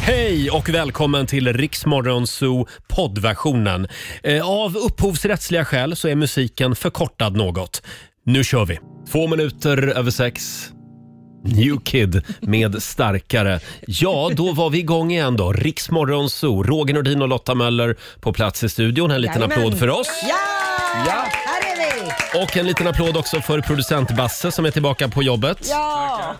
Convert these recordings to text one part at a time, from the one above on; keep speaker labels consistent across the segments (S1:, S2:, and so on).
S1: Hej och välkommen till Riksmorgon Zoo poddversionen. Eh, Av upphovsrättsliga skäl så är musiken förkortad något. Nu kör vi! Två minuter över sex. New Kid med Starkare. Ja, då var vi igång igen då. Riksmorgon Zoo. Roger Nordin och Lotta Möller på plats i studion. En liten
S2: Jajamän.
S1: applåd för oss.
S2: Ja!
S1: Ja.
S2: Här är vi!
S1: Och en liten applåd också för producent Basse som är tillbaka på jobbet.
S2: Ja!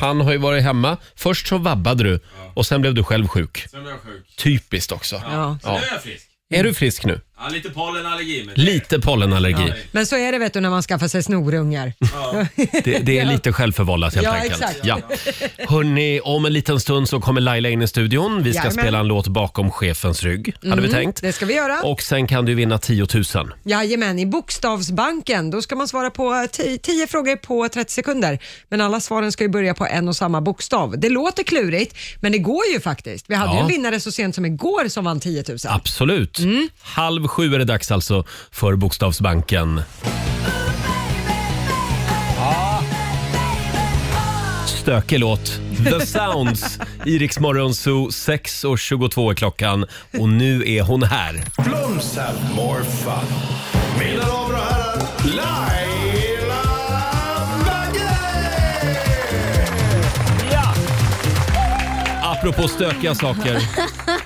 S1: Han har ju varit hemma. Först så vabbade du och sen blev du själv sjuk.
S3: Sen blev jag sjuk.
S1: Typiskt också.
S2: Ja.
S3: Sen är jag frisk.
S1: Är du frisk nu?
S3: Ja, lite pollenallergi. Men
S1: Lite pollenallergi.
S2: Men så är det vet du när man skaffar sig snorungar.
S1: Det, det är lite självförvållat helt
S2: Ja,
S1: enkelt.
S2: exakt.
S1: Ja. Hörni, om en liten stund så kommer Laila in i studion. Vi ska
S2: Jajamän.
S1: spela en låt bakom chefens rygg, hade vi tänkt.
S2: Mm, Det ska vi göra.
S1: Och sen kan du vinna 10 000.
S2: Jajamän, i Bokstavsbanken då ska man svara på 10 frågor på 30 sekunder. Men alla svaren ska ju börja på en och samma bokstav. Det låter klurigt, men det går ju faktiskt. Vi hade
S1: Ja.
S2: ju en vinnare så sent som igår som vann 10 000.
S1: Absolut.
S4: Mm.
S1: Halv sju är det dags alltså för Bokstavsbanken. Stökig låt. The Sounds. I Rix Morgon Zoo, 6.22 är klockan och nu är hon här.
S5: Blooms have more fun. Mina damer och herrar, Laila Bagge!
S1: Apropå stökiga saker.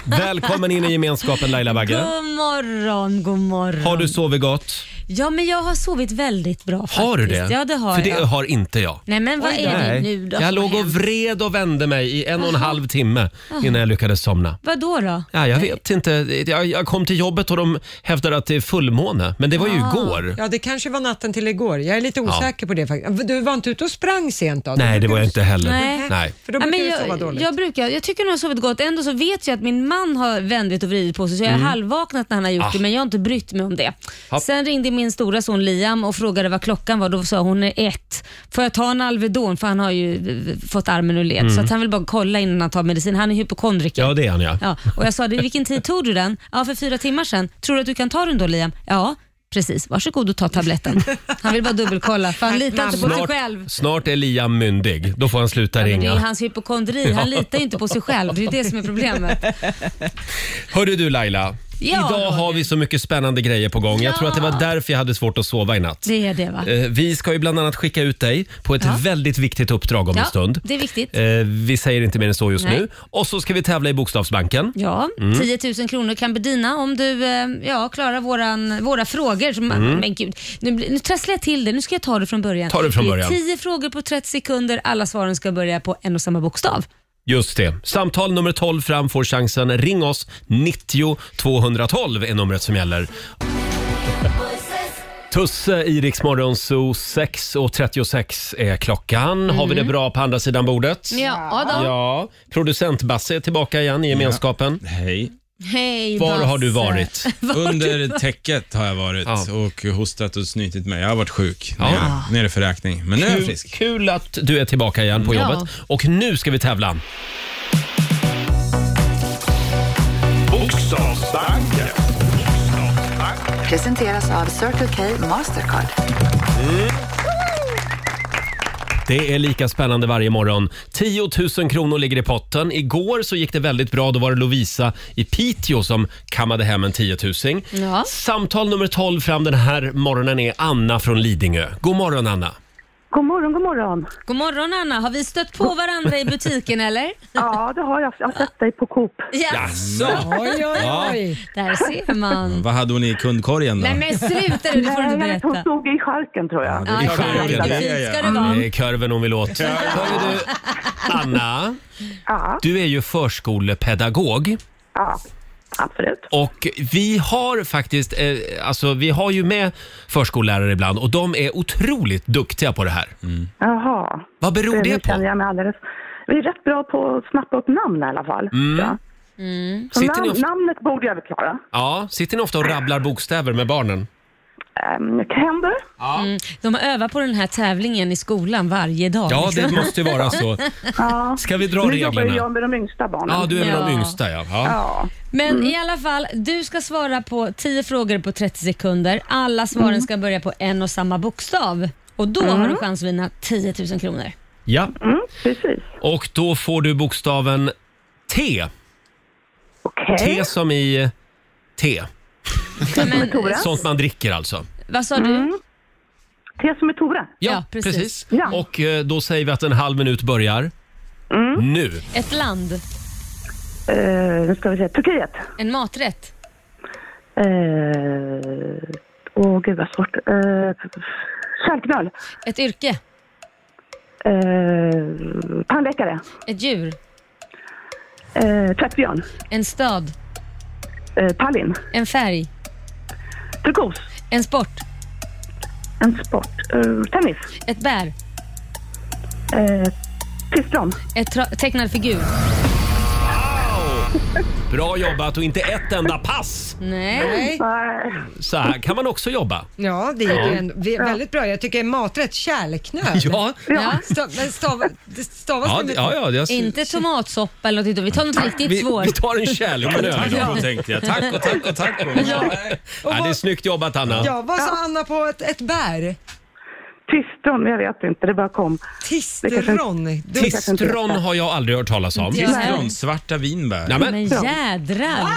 S1: Välkommen in i gemenskapen Laila Bagge.
S4: God morgon, god morgon.
S1: Har du sovit gott?
S4: Ja, men jag har sovit väldigt bra faktiskt.
S1: Har du det?
S4: Ja, det har
S1: För det
S4: jag.
S1: har inte jag.
S4: Nej, men vad är det nu då?
S1: jag
S4: som
S1: låg
S4: har
S1: och
S4: hänt?
S1: vred och vände mig i en och en halv timme innan jag lyckades somna.
S4: Vad då då?
S1: Ja, jag vet inte. Jag, jag kom till jobbet och de hävdade att det är fullmåne, men det var
S4: Ah.
S1: ju igår.
S2: Ja, det kanske var natten till igår. Jag är lite osäker på det faktiskt. Du var inte ute och sprang sent då?
S1: Nej, det var jag inte heller.
S4: Nej.
S1: Nej.
S2: För då
S4: Nej,
S2: brukar
S4: men
S2: du sova
S4: jag,
S2: dåligt.
S4: jag, brukar, jag tycker nog jag har sovit gott. Ändå så vet jag att min man har vändit och vridit på sig så jag har halvvaknat när han har gjort det men jag har inte brytt mig om det.
S1: Mm. Ah. Hopp.
S4: Sen ringde min stora son Liam och frågade vad klockan var. Då sa hon är ett. Får jag ta en Alvedon? För han har ju eh, fått armen ur led.
S1: Mm.
S4: Så att han vill bara kolla innan han tar medicin. Han är hypokondriker.
S1: Ja, det är han ja.
S4: Ja, och jag sa, "Du, vilken tid tog du den? Ja, för fyra timmar sedan. Tror du att du kan ta den då Liam? Ja, precis. Varsågod och ta tabletten. Han vill bara dubbelkolla, för han litar inte på sig
S1: Snart,
S4: själv.
S1: snart är Liam myndig. Då får han sluta
S4: Ja, men det är ju
S1: ringa.
S4: hans hypokondri. Han litar ju inte på sig själv. Det är ju det som är problemet.
S1: Hörru du Laila.
S4: Ja,
S1: Idag har vi så mycket spännande grejer på gång. Jag tror att det var därför jag hade svårt att sova i natt.
S4: Det är det va?
S1: Eh, Vi ska ju bland annat skicka ut dig på ett
S4: Ja.
S1: väldigt viktigt uppdrag om en
S4: Ja,
S1: stund.
S4: det är viktigt.
S1: Eh, Vi säger inte mer än så just
S4: Nej.
S1: nu. Och så ska vi tävla i Bokstavsbanken.
S4: Ja,
S1: Mm.
S4: 10 000 kronor kan bli dina om du eh, ja, klarar våran, våra frågor. Som, Men gud, nu, blir- nu trasslar jag till det. Nu ska jag ta det från
S1: Mm.
S4: början.
S1: Ta det från början.
S4: Det är 10 frågor på 30 sekunder. Alla svaren ska börja på en och samma bokstav.
S1: Just det. Samtal nummer 12 fram får chansen. Ring oss. 90 212 är numret som gäller. Tusse i Rix Morgon Zoo. 6.36 är klockan. Har vi
S6: Mm.
S1: det bra på andra sidan bordet?
S4: Ja, då.
S1: Ja. Producent Basse är tillbaka igen i gemenskapen.
S6: Hej.
S4: Hej
S1: Var har du
S4: Basse.
S1: varit?
S6: Under täcket har jag varit
S1: Ja.
S6: och hostat och snytit mig. Jag har varit sjuk.
S1: Ja.
S6: Nere, nere för räkning. Men nu är jag
S1: Kul,
S6: frisk.
S1: kul att du är tillbaka igen på
S4: Ja.
S1: jobbet. Och nu ska vi tävla.
S5: Bokstavsbanken.
S7: Presenteras av Circle K Mastercard.
S1: Det är lika spännande varje morgon. 10 000 kronor ligger i potten. Igår så gick det väldigt bra. Då var det Lovisa i Piteå som kammade hem en 10 000.
S4: Ja.
S1: Samtal nummer 12 fram den här morgonen är Anna från Lidingö. God morgon Anna.
S8: God morgon, god morgon.
S4: God morgon Anna, har vi stött på varandra i butiken eller?
S8: Ja, det har jag. Jag har sett dig på Coop.
S4: Ja,
S1: Jaså?
S2: Oj, oj, oj.
S4: där ser man.
S6: Vad hade hon i kundkorgen då?
S4: Nej men sluta nu, det får du inte
S8: Nej, jag vet, hon
S4: berätta.
S8: stod i skärken tror jag.
S4: Ja,
S6: Det är klart
S4: fan,
S6: jag gjorde det.
S4: precis ska det vara.
S1: Det är kurven hon vill åt. Hörru du, Anna,
S8: Ja,
S1: du är ju förskolepedagog.
S8: ja absolut.
S1: Och vi har faktiskt, eh, alltså vi har ju med förskollärare ibland och de är otroligt duktiga på det här.
S4: Mm.
S8: Jaha.
S1: Vad beror det
S8: nu känner
S1: på?
S8: jag mig alldeles... Vi är rätt bra på att snappa upp namn i alla fall. Ja.
S4: Mm.
S8: Så
S1: Mm. Sitter ni
S8: nam-
S1: och,
S8: Namnet borde jag väl klara.
S1: ja, sitter ni ofta och rabblar bokstäver med barnen?
S8: Um, händer?
S4: Mm. De har övat på den här tävlingen i skolan varje dag.
S1: Ja,
S4: liksom.
S1: det måste ju vara så.
S8: Ja.
S1: Ska vi dra
S8: nu jobbar ju jag
S1: reglerna?
S8: med de yngsta barnen.
S1: Ja, du är väl de
S4: Ja.
S1: yngsta ja. ja.
S8: Ja.
S4: Men
S1: Mm.
S4: i alla fall, du ska svara på 10 frågor på 30 sekunder. Alla svaren
S8: Mm.
S4: ska börja på en och samma bokstav. Och då har du chans att vinna 10 000 kronor.
S1: Ja,
S8: Mm, Precis.
S1: och då får du bokstaven T
S8: Okej.
S1: Te som i te.
S4: Men, eh,
S8: Tora?
S1: Sånt man dricker alltså.
S4: vad sa du?
S8: Te Mm. som är Tora.
S1: Ja,
S4: Ja,
S1: precis.
S4: precis.
S8: Ja.
S1: Och eh, då säger vi att en halv minut börjar.
S8: Mm.
S1: Nu.
S4: Ett land,
S8: Eh, nu ska vi se. Turkiet.
S4: en maträtt,
S8: Eh, Åh, gud vad svårt. Eh, Kärlknöl.
S4: ett yrke,
S8: Eh, tandläkare.
S4: ett djur,
S8: Eh, Tvättbjörn.
S4: en stad,
S8: Eh, Tallinn.
S4: en färg,
S8: Turkos.
S4: en sport,
S8: En sport. Eh, tennis.
S4: ett bär,
S8: Eh, Tistron.
S4: ett tra- tecknad figur.
S1: Bra jobbat och inte ett enda pass.
S4: Nej.
S8: Eh,
S1: Så här kan man också jobba.
S2: Ja, det är ju en, vä- väldigt bra. Jag tycker maträtt, kärlknöl.
S1: Ja,
S4: Ja.
S2: Stav, men stav, det stavas
S1: ja,
S2: det
S1: det-
S2: med
S1: ja, ja jag,
S4: Inte tomatsoppa eller något utan vi tar något riktigt
S1: vi,
S4: svårt.
S1: vi tar en kärleksnöl idag.
S6: Taco tänkte jag. Taco, taco, taco.
S1: Ja, det är snyggt jobbat Anna.
S2: Ja, vad sa Anna på ett, ett bär?
S8: Tistron, jag vet inte. Det bara kom.
S2: Tisteron. Du,
S1: Tistron har jag aldrig hört talas om.
S4: Ja.
S6: Tistron, svarta vinbär.
S1: Nej,
S4: Men
S1: men,
S4: jädrar.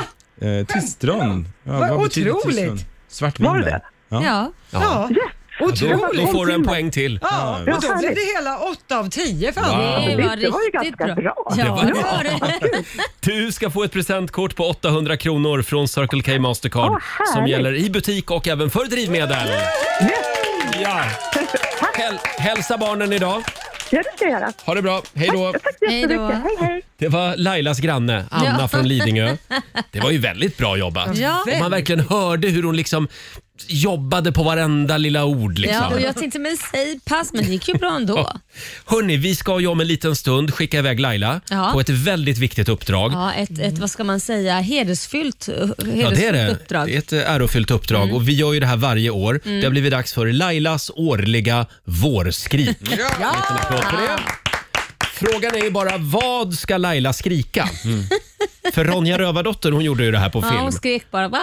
S6: Eh, tistron. Ja,
S2: Vad
S6: betyder
S2: otroligt.
S6: tistron? Svart
S8: Var det
S6: vinbär.
S8: det?
S4: Ja.
S2: ja.
S8: Yes!
S1: då, då
S2: Otroligt.
S1: får du en poäng till.
S2: Ja,
S8: Ja,
S2: och då blev
S8: härligt.
S2: det hela 8 av 10 för Anna.
S4: Det var
S8: det var ju
S4: riktigt
S8: ganska bra.
S4: Ja,
S1: Det var
S4: det var det.
S1: Du ska få ett presentkort på 800 kronor från Circle K Mastercard
S8: Åh, härligt.
S1: som gäller i butik och även för drivmedel. Ja. Häl, hälsa barnen idag.
S8: Ja, det ska jag göra.
S1: Ha det bra. Hej då.
S8: Tack så
S4: Hej då.
S8: jättemycket. Hej, hej.
S1: Det var Lailas granne, Anna
S4: Ja.
S1: från Lidingö. Det var ju väldigt bra jobbat.
S4: Ja.
S1: Och man verkligen hörde hur hon liksom jobbade på varenda lilla ord. Liksom.
S4: Ja, och jag tänkte, men säg pass, men det gick ju bra ändå.
S1: Hörni, vi ska ju om en liten stund skicka iväg Laila
S4: Ja.
S1: på ett väldigt viktigt uppdrag. Ja.
S4: Ja, ett, ett vad ska man säga, hedersfyllt, eh, hedersfyllt
S1: det är det.
S4: uppdrag. Mm.
S1: Det är ett eh, ärofyllt uppdrag och vi gör ju det här varje år. Det har blivit dags för Lailas årliga vårskrik. En liten applåd för det. Frågan är ju bara, vad ska Laila skrika? För Ronja Rövardotter, hon gjorde ju det här på
S4: Mm. Ja,
S1: film.
S4: hon skrek bara wow.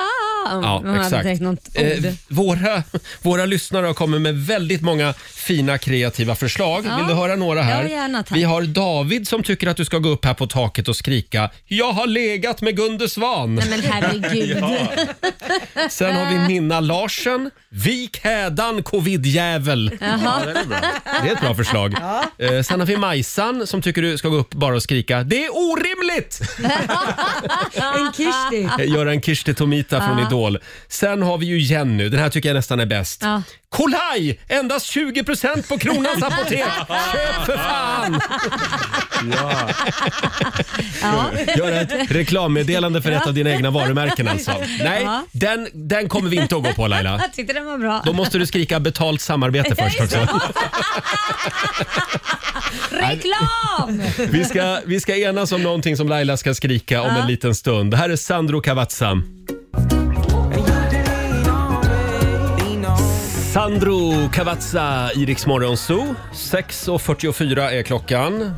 S1: Ja,
S4: hon hade
S1: exakt.
S4: inte något ord.
S1: Eh, våra, våra lyssnare har kommit med väldigt många fina kreativa förslag.
S4: Ja.
S1: Vill du höra några här?
S4: Ja, gärna, tack.
S1: Vi har David som tycker att du ska gå upp här på taket och skrika “Jag har legat med Gunde Svan”.
S4: Nej men herregud.
S1: Sen har vi Minna Larsen. “Vik hädan covidjävel”. Det är ett bra förslag. Eh, sen har vi Majsan som tycker du ska gå upp bara och skrika “Det är orimligt!”
S2: En kishti.
S1: Eh, Göran Kirsti Tomita från Idol. Sen har vi ju Jenny, den här tycker jag nästan är bäst.
S4: Ja.
S1: Kolaj! Endast 20% på Kronans apotek! Köp för fan!
S4: Ja.
S1: Gör ett reklammeddelande för ett av dina egna varumärken alltså. Nej,
S4: Ja.
S1: den, den kommer vi inte att gå på Laila.
S4: Jag tyckte den var bra.
S1: Då måste du skrika betalt samarbete först också.
S4: Reklam!
S1: Vi ska, vi ska enas om någonting som Laila ska skrika om en liten stund. Det här är Sandro Cavazza. Sandro Cavazza i Rix Morgon Zoo. 6.44 är klockan.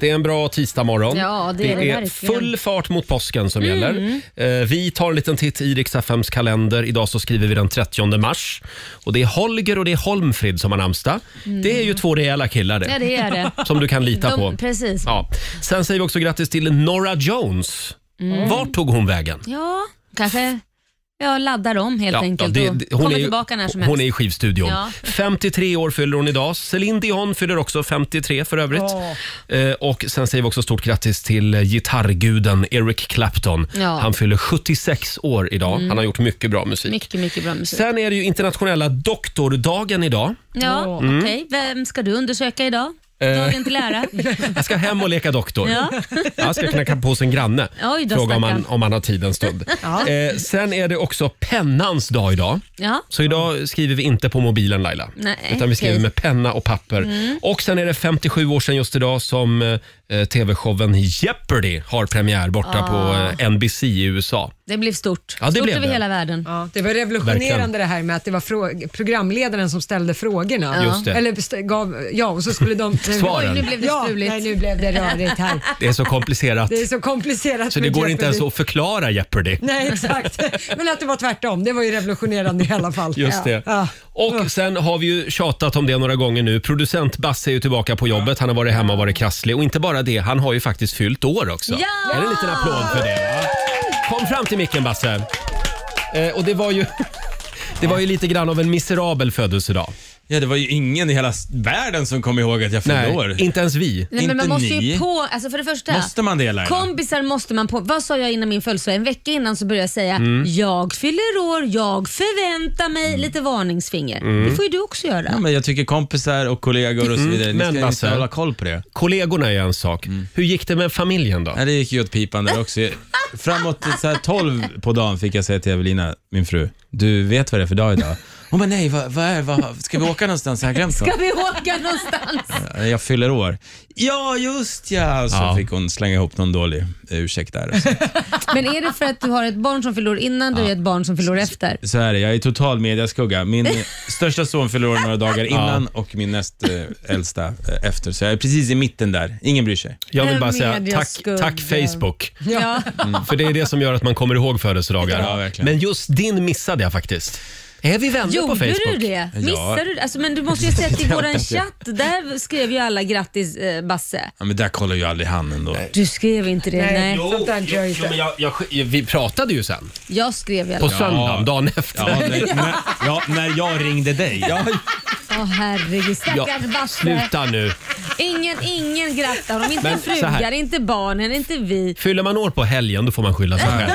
S1: Det är en bra tisdagmorgon.
S4: Ja, det är det
S1: är
S4: verkligen. Mm.
S1: full fart mot påsken som gäller. Eh, Vi tar en liten titt i Rix FMs kalender. Idag så skriver vi den 30 mars. Och Det är Holger och det är Holmfrid som har namnsdag.
S4: Mm.
S1: Det är ju två rejäla killar det
S4: Ja det är det.
S1: som du kan lita på.
S4: De, precis.
S1: Ja. Sen säger vi också grattis till Norah Jones.
S4: Mm.
S1: Vart tog hon vägen?
S4: Ja, kanske jag laddar om helt enkelt
S1: det-
S4: och
S1: det-
S4: kommer
S1: ju-
S4: tillbaka när som helst.
S1: hon är i skivstudion.
S4: Ja.
S1: 53 år fyller hon idag. Celine Dion fyller också 53 för övrigt. Eh, och Sen säger vi också stort grattis till eh, gitarrguden Eric Clapton.
S4: Ja. Mm.
S1: Han fyller 76 år idag. Han har gjort mycket bra musik.
S4: Mycket, mycket bra musik.
S1: Sen är det ju internationella doktordagen idag.
S4: Ja,
S1: Mm.
S4: okej. Vem ska du undersöka idag? Dagen till ära.
S1: Eh. Jag ska hem och leka doktor.
S4: Ja.
S1: Jag ska knacka på hos en granne.
S4: Oj då,
S1: Fråga om han,
S4: stackarn.
S1: om han har tid en stund. Eh, sen är det också pennans dag idag.
S4: Ja.
S1: Så idag skriver vi inte på mobilen Laila.
S4: Nej,
S1: utan vi skriver
S4: okej. Mm.
S1: med penna och papper. Och sen är det 57 år sedan just idag som eh, tv-showen Jeopardy har premiär borta
S4: Ah.
S1: på eh, NBC i USA.
S4: Det blev stort.
S1: Ja, det
S4: stort
S1: blev
S4: över
S1: det.
S4: hela världen.
S2: Ja, det var revolutionerande
S1: Verkligen.
S2: det här med att det var frå- programledaren som ställde frågorna.
S1: Ja. Just det.
S2: Eller best- gav, ja, och så skulle de...
S1: Svaren. Oj, nu
S4: blev det
S2: ja,
S4: struligt.
S2: Nej, nu blev det rörigt här.
S1: Det är så komplicerat
S2: Det är så komplicerat.
S1: så det
S2: med
S1: går inte
S2: Jeopardy.
S1: ens att förklara Jeopardy.
S2: Nej, exakt. Men att det var tvärtom. Det var ju revolutionerande i alla fall.
S1: Just det.
S2: Ja.
S1: Och sen har vi ju tjatat om det några gånger nu. Producent Basse är ju tillbaka på jobbet. Han har varit hemma och varit krasslig. Och inte bara det, han har ju faktiskt fyllt år också.
S4: Ja!
S1: Är det en liten applåd för det? Va? Kom fram till micken Basse. Eh, och det var ju... Det var ju lite grann av en miserabel födelsedag.
S6: Ja, det var ju ingen i hela s- världen som kom ihåg att jag fyllde
S1: Nej,
S6: år.
S1: inte ens vi.
S4: Nej, men
S6: Inte
S4: man måste
S6: ni.
S4: ju på, alltså för det första.
S6: Måste man det, Laila?
S4: Kompisar måste man på. Vad sa jag innan min födelsedag? En vecka innan så började jag säga
S6: Mm.
S4: jag fyller år, jag förväntar mig lite varningsfinger. Det får ju du också göra.
S6: Mm. Ja, men jag tycker kompisar och kollegor och så vidare,
S1: Mm. men
S6: ni ska, ni
S1: Basse-
S6: ska hålla koll på det. Mm.
S1: Kollegorna är en sak. Hur gick det med familjen då?
S6: Nej, det gick ju åt pipan där också. Framåt så här 12 på dagen fick jag säga till Evelina, min fru, du vet vad det är för dag idag? Hon bara, nej, vad, vad är vad, Ska vi åka någonstans? Jag har glömt något.
S4: Ska vi åka någonstans?
S6: Jag fyller år. Ja, just ja! Så
S1: Ja.
S6: fick hon slänga ihop någon dålig ursäkt där. och Så,
S4: Men är det för att du har ett barn som fyller år innan du är ett barn som fyller år efter?
S6: så här är det, jag är total mediaskugga. Min största son fyller år några dagar innan och min näst eh, äldsta eh, efter. Så jag är precis i mitten där. Ingen bryr sig.
S1: Jag vill bara
S4: Med
S1: säga
S4: jag
S1: tack,
S4: skulle.
S1: tack Facebook.
S4: Ja.
S6: Mm.
S1: För det är det som gör att man kommer ihåg födelsedagar.
S6: Ja, verkligen.
S1: Men just din missade jag faktiskt. Är vi vänner på
S4: Gjorde
S1: Facebook?
S4: du det? Missade du det? Alltså, men du måste ju säga att i våran chatt, där skrev ju alla grattis eh, Basse.
S6: Ja, men där kollar ju aldrig han ändå.
S4: Du skrev inte det? Nej.
S1: Jo,
S2: Sånt där
S1: jo,
S2: gör
S1: jo,
S2: inte.
S1: men jag, jag, vi pratade ju sen.
S4: Jag skrev i alla
S1: På
S4: fall.
S1: söndagen, dagen efter.
S6: Ja, när, när, ja, när jag ringde dig.
S4: Åh herregud,
S1: Ja,
S4: stackars Basse.
S1: sluta nu.
S4: Ingen, ingen grattar honom. Inte
S1: Men så här.
S4: frugar, inte barnen, inte vi.
S1: Fyller man år på helgen då får man skylla sig själv.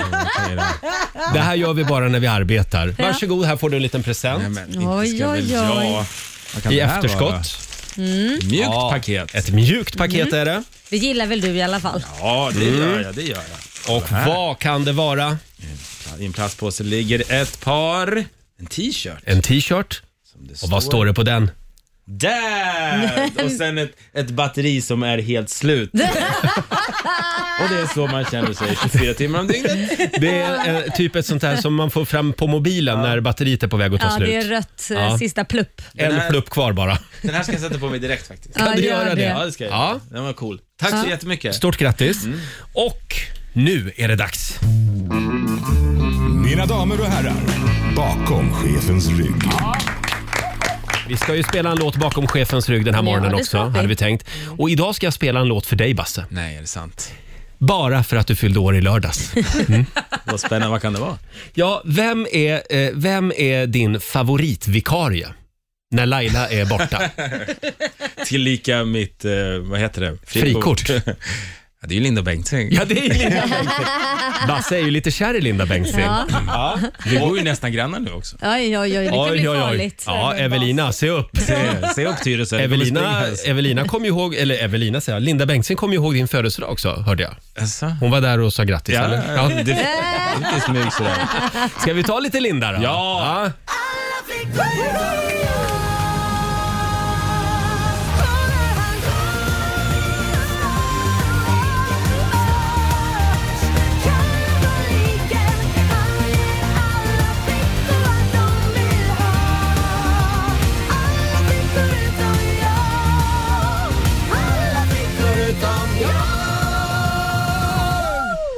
S1: Det här gör vi bara när vi arbetar. Varsågod, här får du en liten
S6: Nej,
S1: present
S6: men inte
S4: Oj,
S6: ska väl
S4: oj, oj.
S6: jag- Vad kan
S1: i
S6: det här vara?
S1: efterskott.
S6: Mjukt
S1: Ja,
S6: paket. Mm.
S1: Ett mjukt paket är det.
S4: Mm. Det gillar väl du i alla fall?
S6: Ja, det gör jag. Det gör jag.
S1: Och vad kan det vara?
S6: I en plastpåse ligger ett par... En t-shirt.
S1: En t-shirt. Och vad står det på den?
S6: Där! Och sen ett, ett batteri som är helt slut. Och det är så man känner sig 24 timmar om dygnet.
S1: Det är eh, typ ett sånt här som man får fram på mobilen när batteriet är på väg att ta
S4: Ja, det är
S1: slut.
S4: rött eh,
S1: Ja.
S4: sista plupp.
S1: En
S6: Den här-
S1: plupp kvar bara.
S6: Den här ska jag sätta på mig direkt faktiskt.
S4: Ja,
S1: du göra det?
S6: Ja, det ska jag
S1: Ja.
S6: göra. Den var cool. Tack så jättemycket.
S1: Stort grattis.
S6: Mm.
S1: Och nu är det dags.
S5: Mina damer och herrar, bakom chefens rygg.
S1: Vi ska ju spela en låt bakom chefens rygg den här morgonen
S4: det
S1: också,
S4: ska vi. Mm.
S1: hade vi tänkt. Och idag ska jag spela en låt för dig, Basse.
S6: Nej, är det sant?
S1: Bara för att du fyllde år i lördags. Mm.
S6: Vad spännande. Vad kan det vara?
S1: Ja, vem är, eh, vem är din favoritvikarie när Laila är borta?
S6: Tillika mitt, eh, vad heter det?
S1: Frikort.
S6: ja, det är ju Linda Bengtzing.
S1: Ja, det är ju Linda Bengtzing. Basse är ju lite kär i Linda Bengtzing.
S4: Ja.
S6: Ja. Mm. Vi bor ju nästan grannar nu också.
S4: Oj, oj, oj. Det kan bli farligt.
S1: Ja, Evelina, se upp.
S6: Se, se upp Tyresö. det kommer
S1: Evelina,
S6: springa här.
S1: Evelina kom ju ihåg, eller Evelina säger jag, Linda Bengtzing kom ju ihåg din födelsedag också, hörde jag.
S6: Jaså?
S1: Hon var där och sa grattis,
S6: Ja,
S1: eller?
S6: ja, det det är lite smyg sådär.
S1: Ska vi ta lite Linda då?
S6: Ja.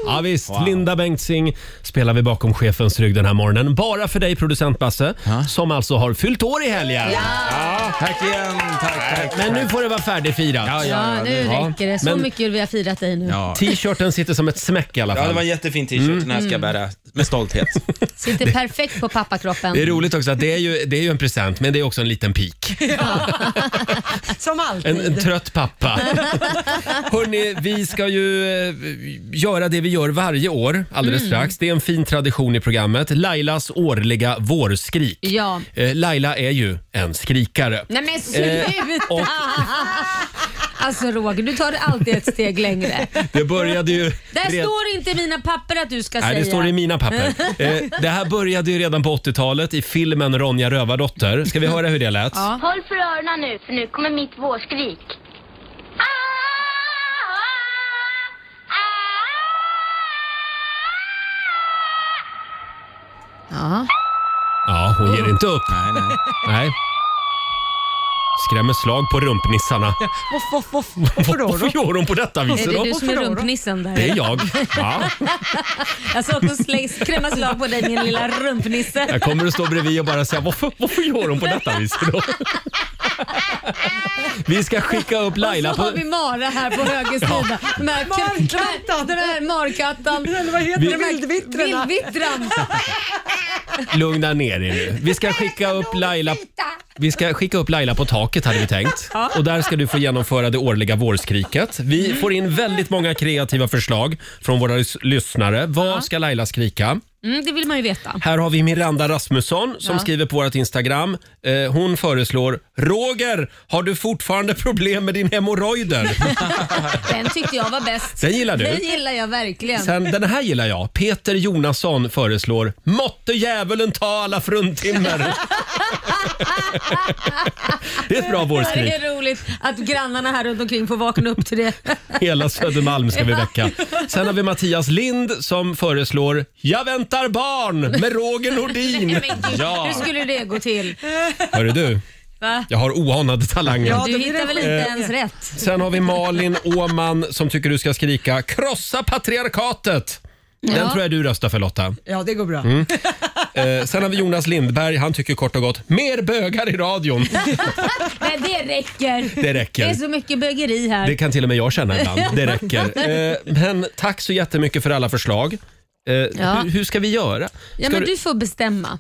S1: Ja, visst, Linda Bengtzing spelar vi bakom chefens rygg den här morgonen. Bara för dig producent Basse, som alltså har fyllt år i helgen.
S6: Tack igen, tack, tack.
S1: Men nu får det vara färdigfirat.
S4: Ja, nu
S1: Ja,
S4: räcker det. Så
S1: men-
S4: mycket vi har firat dig nu.
S6: Ja.
S1: Mm. T-shirten sitter som ett smäck i alla
S6: Ja, det
S1: fall. Mm.
S6: var en jättefin t-shirt. Den här ska jag bära med stolthet.
S4: Sitter perfekt på pappakroppen.
S1: Det är roligt också att det är ju, det är ju en present, men det är också en liten pik.
S2: Som alltid.
S1: En, en trött pappa. Hörni, vi ska ju eh, göra det vi gör varje år alldeles
S4: Mm.
S1: strax. Det är en fin tradition i programmet. Lailas årliga vårskrik.
S4: Ja.
S1: Eh, Laila är ju en skrikare.
S4: Nej men sluta!
S1: Eh, och-
S4: Alltså Roger, du tar det alltid ett steg längre.
S1: Det började ju...
S4: Där
S1: red-
S4: står inte i mina papper att du ska
S1: Nej,
S4: säga.
S1: det står i mina papper. Eh, det här började ju redan på 80-talet i filmen Ronja Rövardotter. Ska vi höra hur det lät?
S4: Ja.
S9: Håll för öronen nu, för nu kommer mitt vårskrik. Ah, ah,
S4: Ja.
S1: Ja, hon ger inte upp.
S6: Nej, nej.
S1: Nej. Skrämmer slag på rumpnissarna.
S2: Voff, voff, voff. Varför då?
S1: Varför
S2: då?
S1: gör hon på detta
S4: Är
S1: viset
S4: det
S1: då?
S4: du som är
S2: Varför då?
S4: rumpnissen där?
S1: Det är jag. Ja.
S4: Jag sa att hon slä- skrämma slag på dig din lilla rumpnisse.
S1: Jag kommer att stå bredvid och bara säga varför, varför gör hon på detta viset då? Vi ska skicka upp Laila
S4: Och så
S1: på...
S4: har vi Mara här på höger sida. De här,
S2: Markattan.
S4: Den här markattan.
S2: Eller vad heter
S1: Vi-
S2: det? Vildvittrarna.
S4: Vildvittran.
S1: Lugna ner er nu. Vi ska skicka upp Laila... Vi ska skicka upp Laila på taket hade vi tänkt. Och där ska du få genomföra det årliga vårskriket. Vi får in väldigt många kreativa förslag från våra lys- lyssnare. Vad ska Laila skrika?
S4: Mm, det vill man ju veta.
S1: Här har vi Miranda Rasmusson som
S4: Ja.
S1: skriver på vårt Instagram. Eh, hon föreslår “Roger, har du fortfarande problem med din hemorrojder?”
S4: Den tyckte jag var bäst.
S1: Den gillar du.
S4: Den gillar jag verkligen.
S1: Sen, den här gillar jag. Peter Jonasson föreslår “Måtte djävulen ta alla fruntimmer”. det är ett bra
S4: Ja, Det
S1: vårskrik.
S4: är roligt att grannarna här runt omkring får vakna upp till det.
S1: Hela Södermalm ska vi väcka. Sen har vi Mattias Lind som föreslår “Jag väntar barn” med Roger Nordin.
S4: Men gud, Hur skulle det gå till?
S1: Hörru du,
S4: Va?
S1: jag har oanade talanger.
S2: Ja,
S4: Du
S2: då blir det
S4: hittar väl
S2: skit.
S4: inte
S1: Eh.
S4: ens rätt?
S1: Sen har vi Malin Åman som tycker du ska skrika “Krossa patriarkatet”. Den
S4: Ja.
S1: tror jag du röstar för Lotta.
S2: Ja, det går bra.
S1: Mm. Eh, sen har vi Jonas Lindberg. Han tycker kort och gott “Mer bögar i radion”.
S4: Nej, det räcker.
S1: Det
S4: Det är
S1: räcker.
S4: så mycket bögeri här.
S1: Det kan till och med jag känna ibland. Det räcker. Eh, men tack så jättemycket för alla förslag. Eh, hur, hur ska vi göra?
S4: Ja,
S1: Ska
S4: men
S1: du- Mm.
S4: du får bestämma.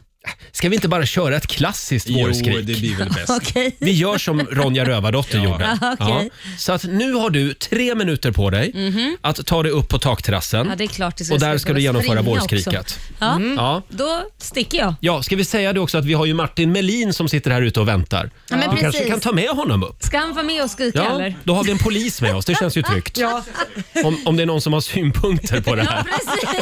S1: Ska vi inte bara köra ett klassiskt
S10: Jo,
S1: vårskrik?
S10: det blir väl bäst.
S4: Okej.
S1: Vi gör som Ronja Rövardotter gjorde.
S4: Ja, okej. Mhm.
S1: Så att nu har du tre minuter på dig att ta dig upp på takterrassen.
S4: Ja, det är klart. Det
S1: och där
S4: jag
S1: ska du
S4: behöva
S1: genomföra
S4: springa
S1: vårskriket. Mm.
S4: också. Mm. Ja,
S1: Ja.
S4: då sticker jag.
S1: ja, ska vi säga det också att vi har ju Martin Melin som sitter här ute och väntar.
S4: Ja, men
S1: du kanske
S4: precis.
S1: kan ta med honom upp?
S4: Ska han vara med och skrika
S1: Ja,
S4: eller?
S1: då har vi en polis med oss. Det känns ju tryggt.
S2: Ja.
S1: Om, om det är någon som har synpunkter på det
S4: Ja,
S1: här
S4: precis.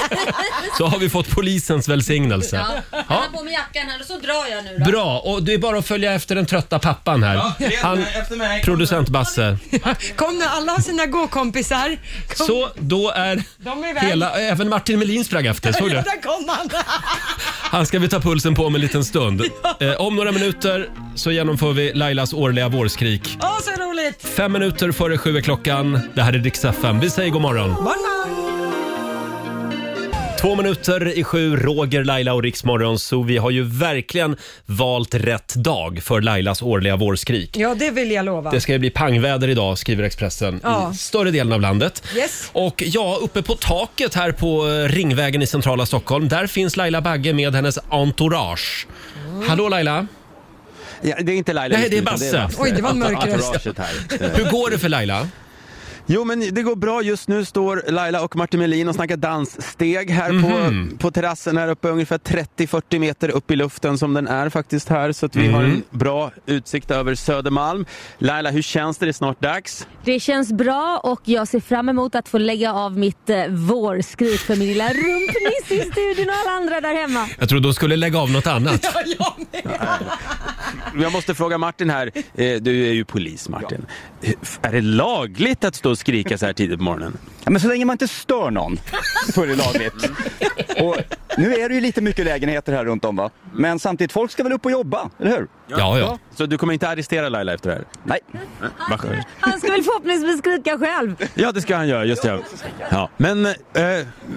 S1: så har vi fått polisens välsignelse.
S4: Ja. Jag har på mig jackan här och så drar jag nu då.
S1: Alltså. Bra, och det är bara att följa efter den trötta pappan här.
S10: Ja, efter-
S1: Han,
S10: efter mig.
S1: producent Basse.
S2: Kom nu, alla har sina gåkompisar. Kom.
S1: Så då är
S2: De är iväg.
S1: hela, även Martin Melin sprang efter. Såg du?
S2: Där kom han.
S1: Han ska vi ta pulsen på om en liten stund. Eh, om några minuter så genomför vi Lailas årliga vårskrik.
S2: Åh, så roligt!
S1: Fem minuter före sju är klockan. Det här är Rix FM. Vi säger god morgon.
S2: Barn, barn.
S1: Två minuter i sju, Roger, Laila och Riksmorgon. Så vi har ju verkligen valt rätt dag för Lailas årliga vårskrik.
S2: Ja, det vill jag lova.
S1: Det ska ju bli pangväder idag, skriver Expressen,
S2: Ja.
S1: i större delen av landet.
S2: Yes.
S1: Och ja, uppe på taket här på eh, Ringvägen i centrala Stockholm, där finns Laila Bagge med hennes entourage.
S2: Mm.
S1: Hallå Laila!
S6: Ja, det är inte Laila
S1: Nej,
S6: just
S1: det är
S6: nu, utan
S1: Basse.
S2: Oj, det var en mörk röst.
S6: Entouraget här. Eh,
S1: Hur går det för Laila?
S6: Jo, men det går bra just nu. Står Laila och Martin Melin och snackar danssteg här
S1: Mhm.
S6: på, på terrassen här uppe. Ungefär 30-40 meter upp i luften som den är faktiskt här. Så att vi har
S1: Mhm.
S6: en bra utsikt över Södermalm. Laila, hur känns det? Det är snart dags.
S4: Det känns bra och jag ser fram emot att få lägga av mitt eh, vårskrik för min lilla rumpniss i studion och alla andra där hemma.
S1: Jag trodde hon skulle lägga av något annat.
S2: Ja, jag med.
S6: Jag måste fråga Martin här. Eh, Du är ju polis, Martin. Eh, Är det lagligt att stå och skrika så här tidigt på morgonen?
S11: Ja, men så länge man inte stör någon så är det lagligt. Och nu är det ju lite mycket lägenheter här runt om va? Men samtidigt, folk ska väl upp och jobba, eller hur?
S1: Ja, ja.
S6: Så du kommer inte arrestera Laila efter det här?
S11: Nej.
S6: Vad skönt.
S4: Han ska väl förhoppningsvis skrika själv.
S6: Ja, det ska han göra. Just det. Ja. Men eh,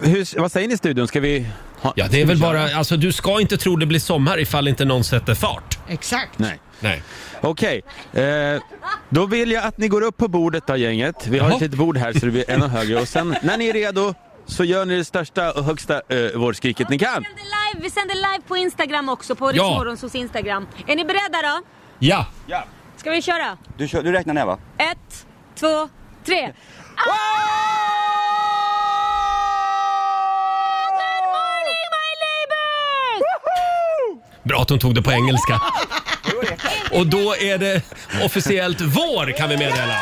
S6: hur, vad säger ni i studion? Ska vi... Ha,
S1: Ja, det är väl bara, alltså du ska inte tro det blir sommar ifall inte någon sätter fart.
S2: Exakt.
S6: Nej.
S1: Nej.
S6: Okej. Eh, då vill jag att ni går upp på bordet då, gänget. Vi har
S1: Jaha.
S6: ett litet bord här så det blir ännu högre. Och sen när ni är redo så gör ni det största och högsta eh, vårskriket ni kan.
S4: Vi sänder live, vi sänder live på Instagram också, på
S1: Ja.
S4: Riksmorgonsos Instagram. Är ni beredda då?
S1: Ja!
S4: Ska vi köra?
S11: Du, kör, du räknar ner va?
S4: Ett, två, tre. Ah, good morning my neighbors!
S1: Bra att hon tog det på engelska. Och då är det officiellt vår kan vi meddela.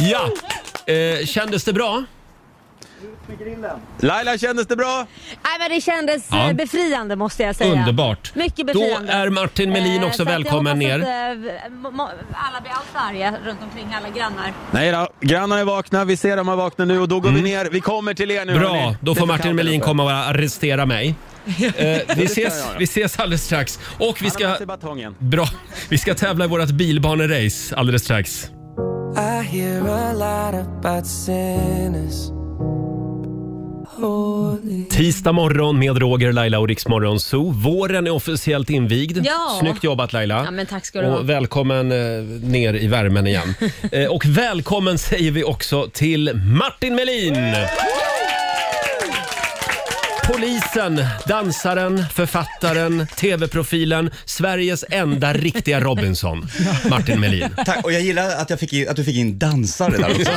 S1: Ja, eh, kändes det bra?
S6: Laila, kändes det bra?
S4: Nej, men det kändes
S1: Ja.
S4: eh, befriande måste jag säga.
S1: Underbart.
S4: Mycket
S1: Då
S4: befriande.
S1: är Martin Melin
S4: Eh,
S1: också
S4: så att jag
S1: välkommen ner.
S4: hoppas Att, eh, må- må- alla blir allt arga runt omkring alla grannar.
S6: Nej då, grannarna är vakna. Vi ser dem är vakna nu och då går vi ner. Vi kommer till er nu.
S1: Mm. Bra,
S6: hörni.
S1: då
S6: Det är
S1: får
S6: så
S1: Martin
S6: kallt
S1: Melin
S6: här uppe.
S1: komma och arrestera mig. Eh, vi, ses,
S6: göra.
S1: vi ses alldeles strax. Och vi
S6: Han har
S1: ska,
S6: med sig batongen.
S1: bra, vi ska tävla i vårt bilbanerace alldeles strax. Tisdag morgon med Roger, Laila och Riksmorgon Zoo. Våren är officiellt invigd.
S4: Ja.
S1: Snyggt jobbat Laila.
S4: Ja, men tack ska du ha.
S1: Och välkommen eh, ner i värmen igen. Eh, och välkommen säger vi också till Martin Melin! Polisen, dansaren, författaren, tv-profilen, Sveriges enda riktiga Robinson, Martin Melin.
S12: Tack, och jag gillar att, jag fick in, att du fick in dansare där också.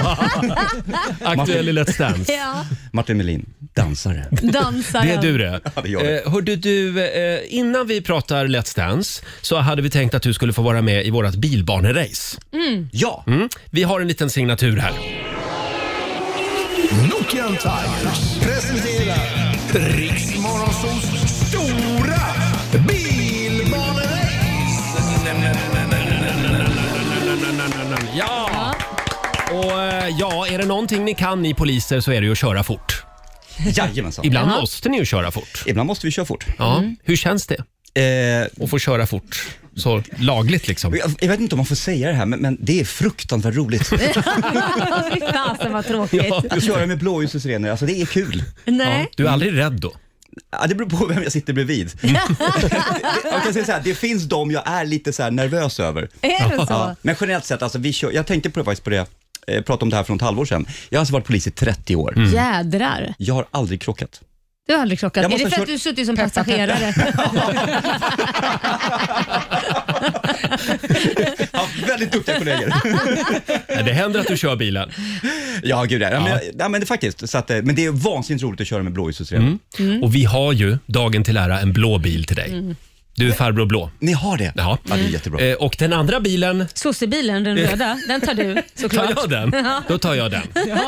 S1: Aktuell i Let's Dance.
S4: Ja,
S12: Martin Melin, dansare.
S4: dansaren.
S1: Det är du det.
S12: Ja, det gör det.
S1: Eh, hörde du, eh, innan vi pratar Let's Dance så hade vi tänkt att du skulle få vara med i vårt bilbanerace.
S12: Ja,
S1: Mm. Vi har en liten signatur här.
S5: Nokian Tigers presenterar Riksmorgonsols stora bilbanerace.
S1: Ja! Och eh, ja, är det någonting ni kan ni poliser så är det ju att köra fort.
S12: jajamensan.
S1: Ibland
S4: Jaha.
S1: måste ni ju köra fort.
S12: Ibland måste vi köra fort.
S1: Ja. Hur känns det
S12: Eh, jag
S1: att få köra fort? Så lagligt liksom.
S12: jag vet inte om man får säga det här, men, men det är fruktansvärt roligt.
S4: Fy fasen vad tråkigt.
S1: Ja.
S12: Att köra med blåljusets renare, alltså det är kul.
S1: Ja,
S4: Nej.
S1: du är aldrig rädd då?
S12: Ja, det beror på vem jag sitter bredvid. jag kan säga så här, det finns de jag är lite så här nervös över.
S4: Är det så?
S12: Ja, men generellt sett, alltså, vi kör, jag tänkte på det, faktiskt på det, eh, pratade om det här för något halvår sedan. Jag har alltså varit polis i 30 år.
S1: Mm.
S4: Jädrar.
S12: Jag har aldrig krockat.
S4: Du har aldrig krockat.
S12: Jag
S4: Är det
S12: måste
S4: för
S12: ha
S4: att
S12: kört-
S4: du suttit som passagerare?
S12: Ja, väldigt duktiga kollegor.
S1: Nej, det händer att du kör bilen.
S12: ja, gud ja. Ja, men, ja, men det, faktiskt. Så att, eh, men det är vansinnigt roligt att köra med blåljusets mm.
S1: Och vi har ju, dagen till ära, en blå bil till
S4: Mm.
S1: dig. Du är farbror blå.
S12: Ni har det?
S1: Ja.
S12: ja det är jättebra.
S1: Eh, Och den andra bilen,
S4: Sossebilen, den röda, den tar du såklart.
S1: Tar jag den? Då tar jag den.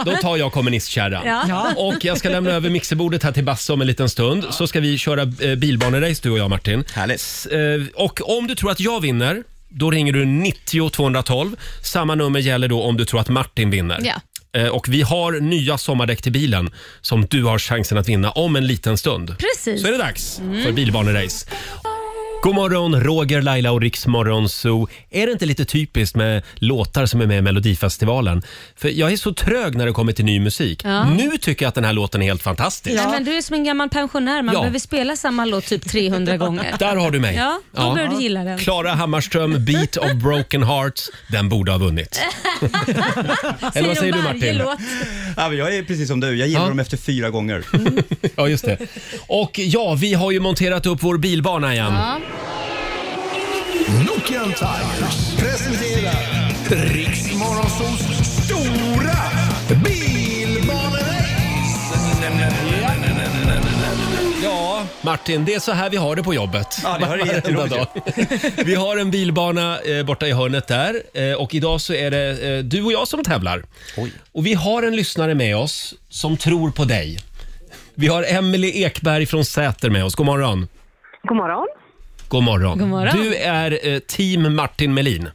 S1: Då tar jag kommunistkärran.
S4: Ja.
S1: Och jag ska lämna över mixerbordet här till Basse om en liten stund. Så ska vi köra eh, bilbanerace du och jag Martin.
S12: Härligt.
S1: S- eh, Och om du tror att jag vinner, då ringer du 90 212. Samma nummer gäller då om du tror att Martin vinner.
S4: Ja.
S1: Eh, Och vi har nya sommardäck till bilen som du har chansen att vinna om en liten stund.
S4: Precis. Mm.
S1: Så är det dags för bilbanerace. God morgon, Roger, Laila och Riksmorgon Zoo. Är det inte lite typiskt med låtar som är med i Melodifestivalen? För jag är så trög när det kommer till ny musik.
S4: Ja.
S1: Nu tycker jag att den här låten är helt fantastisk.
S4: Nej, men du är som en gammal pensionär, man
S1: Ja.
S4: behöver spela samma låt typ 300 gånger.
S1: Där har du mig.
S4: Ja, då börjar du gilla den.
S1: Klara Hammarström, Beat of Broken Hearts. Den borde ha vunnit. Eller vad
S4: de
S1: säger du
S4: varje
S1: Martin?
S4: låt?
S12: Ja, men jag är precis som du, jag gillar
S1: Ja.
S12: dem efter fyra gånger.
S1: Ja, just det. Och ja, vi har ju monterat upp vår bilbana igen.
S4: Ja.
S5: Nokian Tigers presenterar Riksmorgonsols stora bilbanerace.
S1: Ja, Martin, det är så här vi har det på jobbet.
S12: Ja, det har det
S1: Varenda
S12: jätteroligt.
S1: dag. Vi har en bilbana eh, borta i hörnet där eh, och idag så är det eh, du och jag som tävlar. Och vi har en lyssnare med oss som tror på dig. Vi har Emelie Ekberg från Säter med oss. God morgon.
S8: God morgon.
S1: God morgon.
S4: God morgon.
S1: Du är eh, team Martin Melin.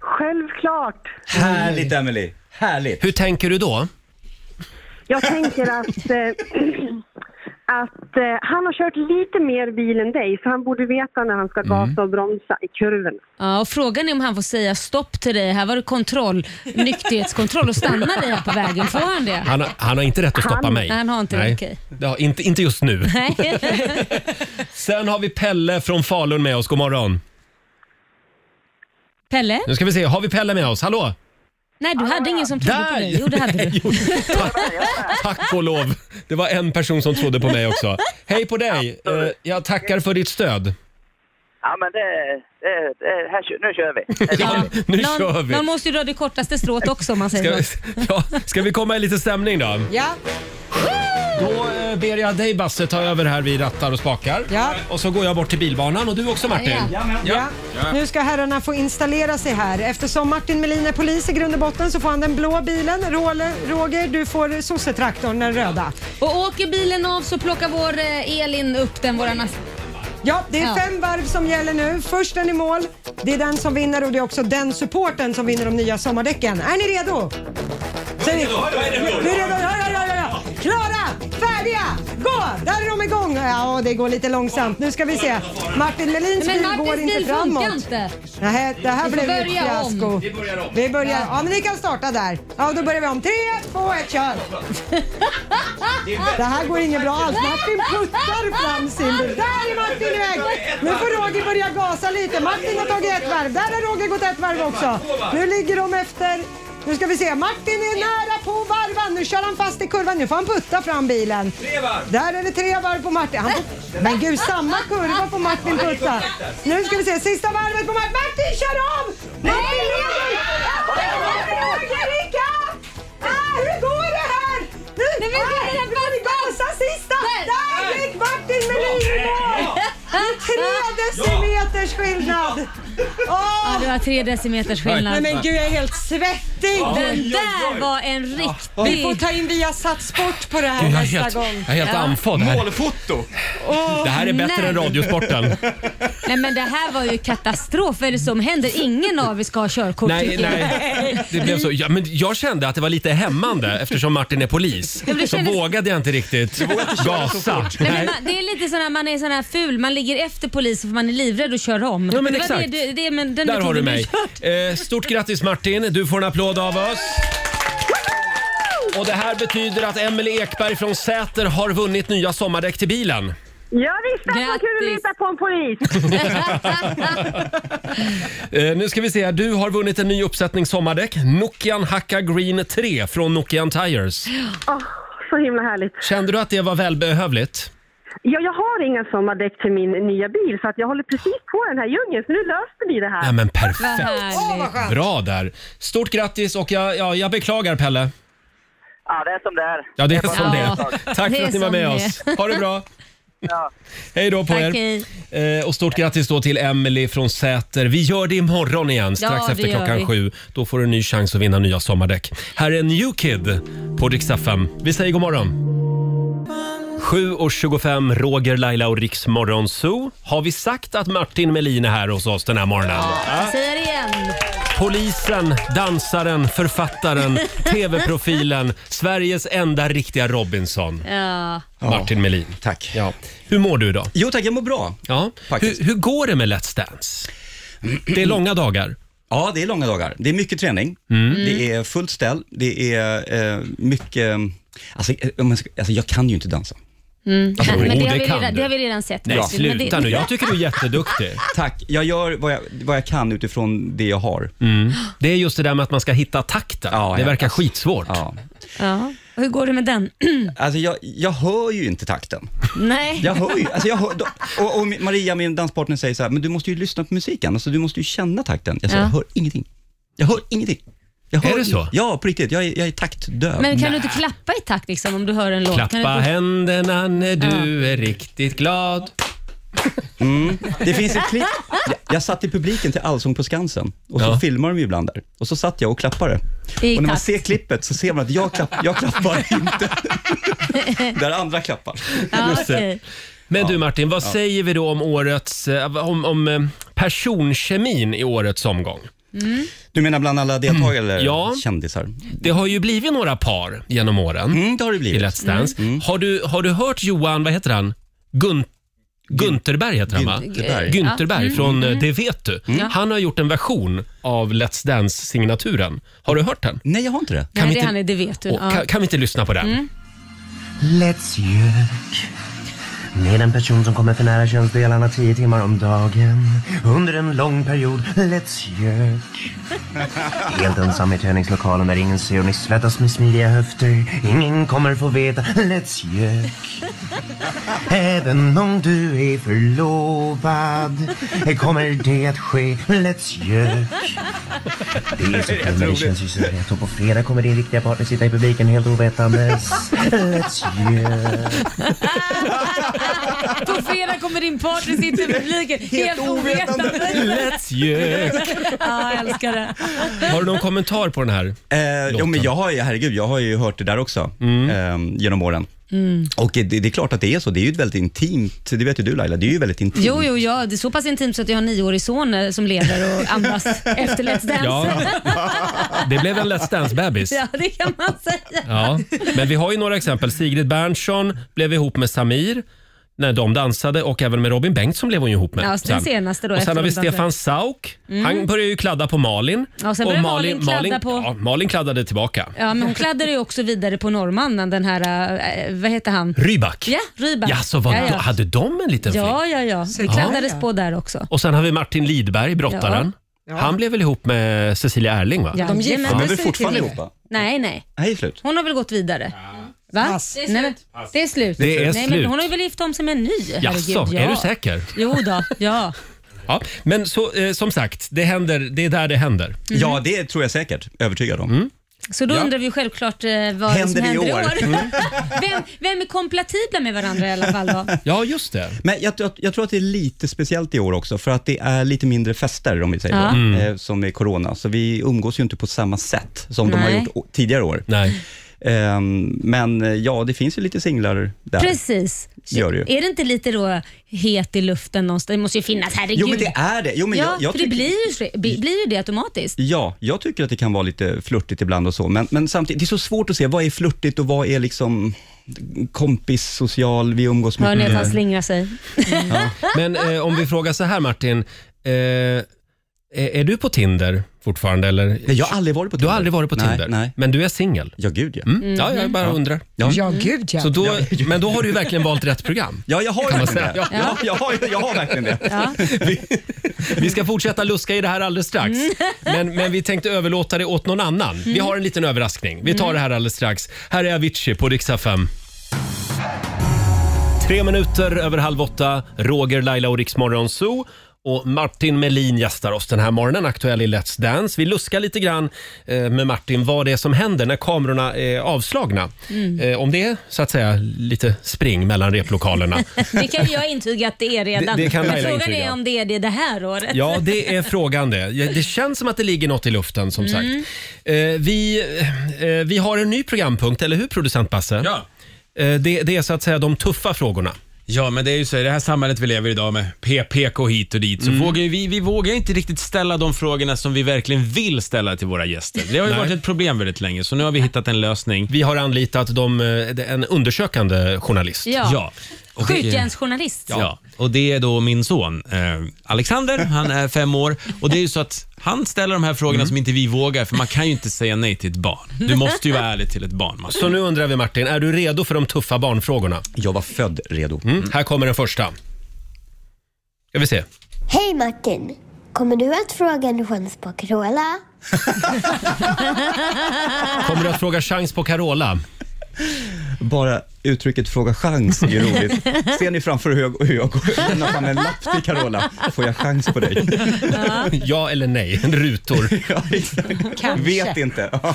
S8: Självklart.
S12: Härligt Emily. härligt.
S1: Hur tänker du då?
S8: Jag tänker att, eh, att eh, han har kört lite mer bil än dig, så han borde veta när han ska gasa och bromsa i kurvorna.
S4: Ja, och frågan är om han får säga stopp till dig. Här var det kontroll, nykterhetskontroll och stanna dig här på vägen. Får han det?
S1: Han, har- han har inte rätt att stoppa
S8: Han-
S1: mig.
S4: Nej, han har inte det,
S1: Nej.
S4: okej.
S1: Ja, inte, inte just nu.
S4: Nej.
S1: Sen har vi Pelle från Falun med oss. God morgon.
S4: Pelle?
S1: Nu ska vi se, har vi Pelle med oss? Hallå?
S4: Nej, du hade ingen som trodde på dig. Jo, det hade du.
S1: Jo, tack, tack och lov. Det var en person som trodde på mig också. Hej på dig. Eh, Jag tackar för ditt stöd.
S13: Ja, men det... det, det här, kö- nu kör vi.
S1: Ja, nu
S4: någon,
S1: kör vi.
S4: någon måste ju dra det kortaste strået också om man
S1: Ska,
S4: säger så.
S1: ja, ska vi komma i lite stämning då?
S2: Ja,
S1: Då eh, ber jag dig Basse ta över här vid rattar och spakar.
S2: Ja.
S1: Och så går jag bort till bilbanan och du också Martin.
S2: ja. Nu ska herrarna få installera sig här. Eftersom Martin Melin är polis i grund och botten så får han den blå bilen. Roger- Roger, du får sossetraktorn, den röda.
S4: Och åker bilen av så plockar vår eh, Elin upp den, våran ass-
S2: Ja, det är
S4: Ja.
S2: fem varv som gäller nu. Först den i mål. Det är den som vinner och det är också den supporten som vinner de nya sommardäcken. Är ni redo? Säg- Nu är det redo. Ja, ja, ja, ja, ja. Klara, färdiga! Gå! Där är de igång. Ja, det går lite långsamt. Nu ska vi se. Martin Melins
S4: Men
S2: bil
S4: Martins
S2: går
S4: bil
S2: inte
S4: funkar
S2: framåt.
S4: inte.
S2: Nej, det här
S4: Vi får
S2: blev ju
S4: börja
S2: ett
S4: om.
S2: fiasko.
S4: Vi börjar om.
S2: Vi börjar.
S4: Ja.
S2: Ja. men ni kan starta där. Ja, då börjar vi om. Tre, två, ett, kör! Det här går inget bra alls. Martin puttar fram sin bil. Där är Martin iväg! Nu får Roger börja gasa lite. Martin har tagit ett varv. Där har Roger gått ett varv också. Nu ligger de efter. Nu ska vi se. Martin är nära på varvan. Nu kör han fast i kurvan. Nu får han putta fram bilen.
S14: Tre varv.
S2: Där är det tre varv på Martin. Han får... Men gud, samma kurva på Martin putta. Nu ska vi se. Sista varvet på Martin. Martin, kör av! Martin leder! Roger är i kapp! Ah, hur går det här? Nu, Nej, men, ah, nu får vi gasa sista! Där gick Martin Melin i mål! Det är Tre decimeters skillnad! Åh!
S4: Ja, det var tre decimeters skillnad. alltså.
S2: Nej, men gud, jag är helt svettig!
S4: Den där var en riktig...
S2: Vi får ta in via Sport på det här
S1: Ah, Gud, jag är
S2: nästa
S1: helt,
S2: gång.
S1: jag är helt andfådd här. Målfoto!
S2: Åh,
S1: Det här är bättre
S4: nej.
S1: än Radiosporten.
S4: Nej men det här var ju katastrof. Vad är det som händer? Ingen av er ska ha körkort.
S1: Nej,
S4: tycker jag.
S1: nej. Det blev så. Ja, men jag kände att det var lite hämmande eftersom Martin är polis.
S4: Ja, men det
S1: Så
S4: kändes-
S1: vågade jag inte riktigt
S4: Du vågar inte köra så
S1: gasa.
S4: Nej, men
S1: Nej.
S4: man, det är lite sån här, man är sån här ful, man ligger efter polisen för man är livrädd och kör om.
S1: Ja, men
S4: det var
S1: exakt.
S4: Det, det, det, men den
S1: Där har du
S4: metoden
S1: mig.
S4: kör.
S1: Eh, stort grattis Martin, du får en applåd av oss. Och det här betyder att Emelie Ekberg från Säter har vunnit nya sommardäck till bilen.
S8: Jag visste att det var alltså, kul att leta på en polis.
S1: Eh, nu ska vi se, här. du har vunnit en ny uppsättning sommardäck. Nokian Hakka Green 3 från Nokian Tires.
S8: Åh, så himla härligt.
S1: Kände du att det var välbehövligt?
S8: Ja, jag har inga sommardäck till min nya bil för att jag håller precis på den här djungeln så nu löste vi det här.
S1: Ja, men perfekt. Vad
S8: Åh, vad skönt.
S1: Bra där. Stort grattis och jag, ja, jag beklagar Pelle.
S15: Ja, det är som det är.
S1: Ja, det är som det är.
S15: Ja.
S1: Tack för att ni var med oss. Ha det bra. Hej då på
S15: Tack,
S1: er. Eh, och stort grattis då till Emily från Säter. Vi gör det imorgon igen strax
S4: Ja,
S1: efter
S4: det gör
S1: klockan
S4: vi.
S1: sju. Då får du en ny chans att vinna nya sommardäck. Här är New Kid på Rix FM. Vi säger god morgon. 7.25, Roger, Laila och Riks Morgonzoo. Har vi sagt att Martin Melin är här hos oss den här morgonen?
S4: Jag säger det igen.
S1: Polisen, dansaren, författaren, tv-profilen, Sveriges enda riktiga Robinson.
S4: Ja.
S1: Martin Melin.
S11: Tack.
S1: Ja. Hur mår du idag?
S11: Jo tack, jag mår bra.
S1: Ja. Hur, hur går det med Let's Dance? Det är långa dagar. Mm.
S11: Ja, det är långa dagar. Det är mycket träning. Det är fullt ställ. Det är eh, mycket... Alltså, eh, om jag ska, alltså, jag kan ju inte dansa.
S4: Mm.
S11: Alltså,
S4: Nej,
S11: jo,
S4: men det,
S11: det
S4: har vi
S11: kan
S4: redan,
S11: du.
S4: det har vi redan sett.
S11: Bra.
S4: Men det-
S1: du är jätteduktig.
S11: Tack. Jag gör vad jag, vad jag kan utifrån det jag har.
S1: Mm. Det är just det där med att man ska hitta takten. det verkar skitsvårt.
S11: Ja.
S4: Ja. Och Hur går det med den?
S11: Alltså, jag, jag hör ju inte takten.
S4: Nej.
S11: Jag hör ju. Alltså jag hör, och, och Maria, min danspartner, säger så här, men du måste ju lyssna på musiken. Alltså, du måste ju känna takten. Jag säger,
S4: Ja.
S11: jag hör ingenting. Jag hör ingenting. Jag hör
S1: Är det
S11: in-
S1: så?
S11: Ja, på riktigt. Jag är, jag är taktdöv.
S4: Men kan du inte klappa i takt liksom, om du hör en låt? Kan
S1: Klappa
S4: du...
S1: händerna när du är riktigt glad.
S11: Mm. Det finns ett klipp. Jag, jag satt i publiken till Allsång på Skansen och så filmar de ju ibland där. Och så satt jag och klappade.
S4: I
S11: och när man
S4: takt.
S11: ser klippet så ser man att jag, klapp, jag klappar inte. där andra klappar.
S4: Ja, okej.
S1: Men du Martin, vad
S11: Ja.
S1: säger vi då om årets, eh, om, om eh, personkemin i årets omgång?
S4: Mm.
S11: Du menar bland alla deltagare eller
S1: Mm. Ja.
S11: kändisar? Mm,
S1: Det har ju blivit några par genom åren
S11: det har det blivit. Mm.
S1: i Let's Dance. Har, du, har du hört Johan, vad heter han? Gun Gunterberg heter han va?
S11: Gunterberg.
S1: Gunterberg
S11: Ja.
S1: från
S11: Mm.
S1: eh, Det vet du.
S11: Mm.
S1: Han har gjort en version av Let's Dance-signaturen. Har du hört den?
S11: Nej, jag har inte det.
S4: Nej, det, är han, är- det vet du.
S1: Åh,
S4: Ja.
S1: kan, kan vi inte lyssna på den?
S4: Mm.
S16: Let's Jerk. Med en person som kommer för nära könsdelarna 10 timmar om dagen under en lång period. Let's Jerk. Helt ensam i träningslokalen där ingen ser och ni svettas med smidiga höfter. Ingen kommer få veta. Let's Jerk. Även om du är förlovad kommer det att ske. Let's Jerk. Det är så kul men det känns ju så rätt och på fredag kommer din riktiga partner sitta i publiken helt ovetandes.
S4: Mm.
S16: Let's Jerk.
S4: På fredag kommer din partner sitta i publiken helt ovetande.
S1: Let's Jerk.
S4: Ja, jag älskar det.
S1: Har du någon kommentar på den här? Mm.
S11: Eh, jo, men jag har ju, herregud, jag har ju hört det där också eh, genom åren.
S4: Mm.
S11: Och det, det är klart att det är så. Det är ju ett väldigt intimt, det vet ju du Laila, det är ju väldigt intimt.
S4: Jo, jo, ja, det är så pass intimt så att jag har en nioårig son eh, som lever och andas efter Let's Dance.
S1: Ja. Det blev en Let's Dance-bebis.
S4: Ja, det kan man säga.
S1: Ja, men vi har ju några exempel. Sigrid Bernson blev ihop med Samir när de dansade och även med Robin Bengtsson blev hon ju ihop med.
S4: Ja, den senaste då,
S1: och
S4: efter
S1: sen har vi
S4: de dansade.
S1: Stefan Sauk.
S4: Mm.
S1: Han började ju kladda på Malin.
S4: Ja, sen började Malin kladda på-
S1: Ja, Malin kladdade tillbaka.
S4: Ja, men hon kladdade ju också vidare på norrmannen, den här, eh, vad heter han?
S1: Rybak.
S4: Ja, Rybak.
S1: Ja, så var,
S4: ja, ja.
S1: hade de en liten fling?
S4: ja, ja, ja. Det
S1: Ja.
S4: kladdades på där också.
S1: Och sen har vi Martin Lidberg, brottaren.
S4: Ja.
S1: Han blev väl ihop med Cecilia Erling va?
S4: Ja, De gifte jajamän. sig
S11: Men vi är fortfarande ihop va?
S4: Nej, nej.
S11: Nej, slut.
S4: Hon har väl gått vidare? Va? Det är slut. Nej, men, det är slut.
S1: Det är
S4: nej,
S1: slut.
S4: Men hon har ju väl gift om sig med en ny? Herregud,
S1: Jaså,
S4: ja.
S1: är du säker?
S4: Jo då, ja.
S1: Ja, men så, eh, som sagt, det, händer, det är där det händer. Mm.
S11: Ja, det tror jag säkert. Övertygad om.
S4: Så då
S1: Ja.
S4: undrar vi ju självklart eh, vad
S11: Händer
S4: händer som
S11: det i
S4: händer i
S11: år?
S4: år.
S11: Mm.
S4: vem, vem är kompatibla med varandra i alla fall då?
S1: Ja, just det.
S11: Men jag, jag, jag tror att det är lite speciellt i år också, för att det är lite mindre fester, om vi säger
S4: Ja.
S11: så,
S4: Mm.
S11: eh, som är corona. Så vi umgås ju inte på samma sätt som de har
S4: Nej.
S11: gjort å- tidigare år.
S1: Nej.
S11: men eh, ja, det finns ju lite singlar där.
S4: Precis. Så
S11: Gör det ju.
S4: Är det inte lite då het i luften någonstans? Det måste ju finnas, herregud.
S11: Jo, men det är det. Jo, men
S4: ja,
S11: jag- jag
S4: för det
S11: tycker- Mm.
S4: blir ju, så- bli- blir ju det automatiskt.
S11: Ja, jag tycker att det kan vara lite flörtigt ibland och så, men, men samtidigt, det är så svårt att se vad är flörtigt och vad är liksom kompis, social, vi umgås
S4: Hör ni att
S11: mycket.
S4: han slingrar sig?
S1: Men eh, om vi frågar så här Martin. Eh, är, är du på Tinder fortfarande? Eller?
S11: jag har aldrig varit på
S1: Du har aldrig varit på
S11: Nej,
S1: Tinder?
S11: nej.
S1: Men du är singel?
S11: Ja, gud ja.
S1: Mm. Ja, jag bara
S11: Mhm.
S1: undrar.
S11: Ja. Ja, gud, ja.
S1: Så då,
S11: Ja.
S1: men då har du ju verkligen valt rätt program.
S11: Ja, jag har
S1: Kan man
S11: verkligen det.
S1: säga.
S11: Ja. Jag, har, jag har verkligen det.
S1: Vi ska fortsätta luska i det här alldeles strax.
S11: Mm.
S1: Men, men vi tänkte överlåta det åt någon annan. Vi har en liten överraskning. Vi
S11: Mm.
S1: tar det här alldeles strax. Här är Avicii på riksdag 5. Tre minuter över halv åtta, Roger, Laila och Riksmorgon Zoo. Och Martin Melin gästar oss den här morgonen, aktuell i Let's Dance. Vi luskar lite grann eh, med Martin vad det är som händer när kamerorna är avslagna.
S4: Mm.
S1: Eh, Om det är så att säga lite spring mellan replokalerna.
S4: Det kan ju jag intyga att det är redan.
S1: Det- det kan
S4: Men
S1: Laila
S4: Frågan
S1: intyga.
S4: är om det är det det här året.
S1: Ja, det är frågan det. Ja, Det känns som att det ligger något i luften som sagt.
S4: Mm.
S1: Eh, vi, eh, vi har en ny programpunkt, eller hur producent Basse? Ja. det, det är så att säga de tuffa frågorna.
S6: Ja, men det är ju så i det här samhället vi lever i idag med PPK hit och dit, så
S1: Mm.
S6: vågar ju vi, vi vågar inte riktigt ställa de frågorna som vi verkligen vill ställa till våra gäster. Det har ju
S1: Nej.
S6: varit ett problem väldigt länge, så nu har vi hittat en lösning.
S1: Vi har anlitat de, eh, en undersökande journalist.
S4: Ja.
S6: Och det-
S4: Skjutjärnsjournalist.
S6: Ja. och det är då min son eh, Alexander, han är fem år och det är ju så att han ställer de här frågorna som inte vi vågar för man kan ju inte säga nej till ett barn. Du måste ju vara ärlig till ett barn. Martin.
S1: Så nu undrar vi Martin, är du redo för de tuffa barnfrågorna?
S11: Jag var född redo.
S1: Mm. Här kommer den första. Ska vi se.
S17: Hej Martin! Kommer du att fråga en chans på Carola?
S1: Kommer du att fråga chans på Carola?
S11: Bara uttrycket fråga chans är roligt. Ser ni framför hur jag, hur jag går? lämnar fram en lapp till Carola. Får jag chans på dig?
S1: Ja eller nej? Rutor.
S11: ja,
S5: Kanske.
S11: Vet inte. Ja.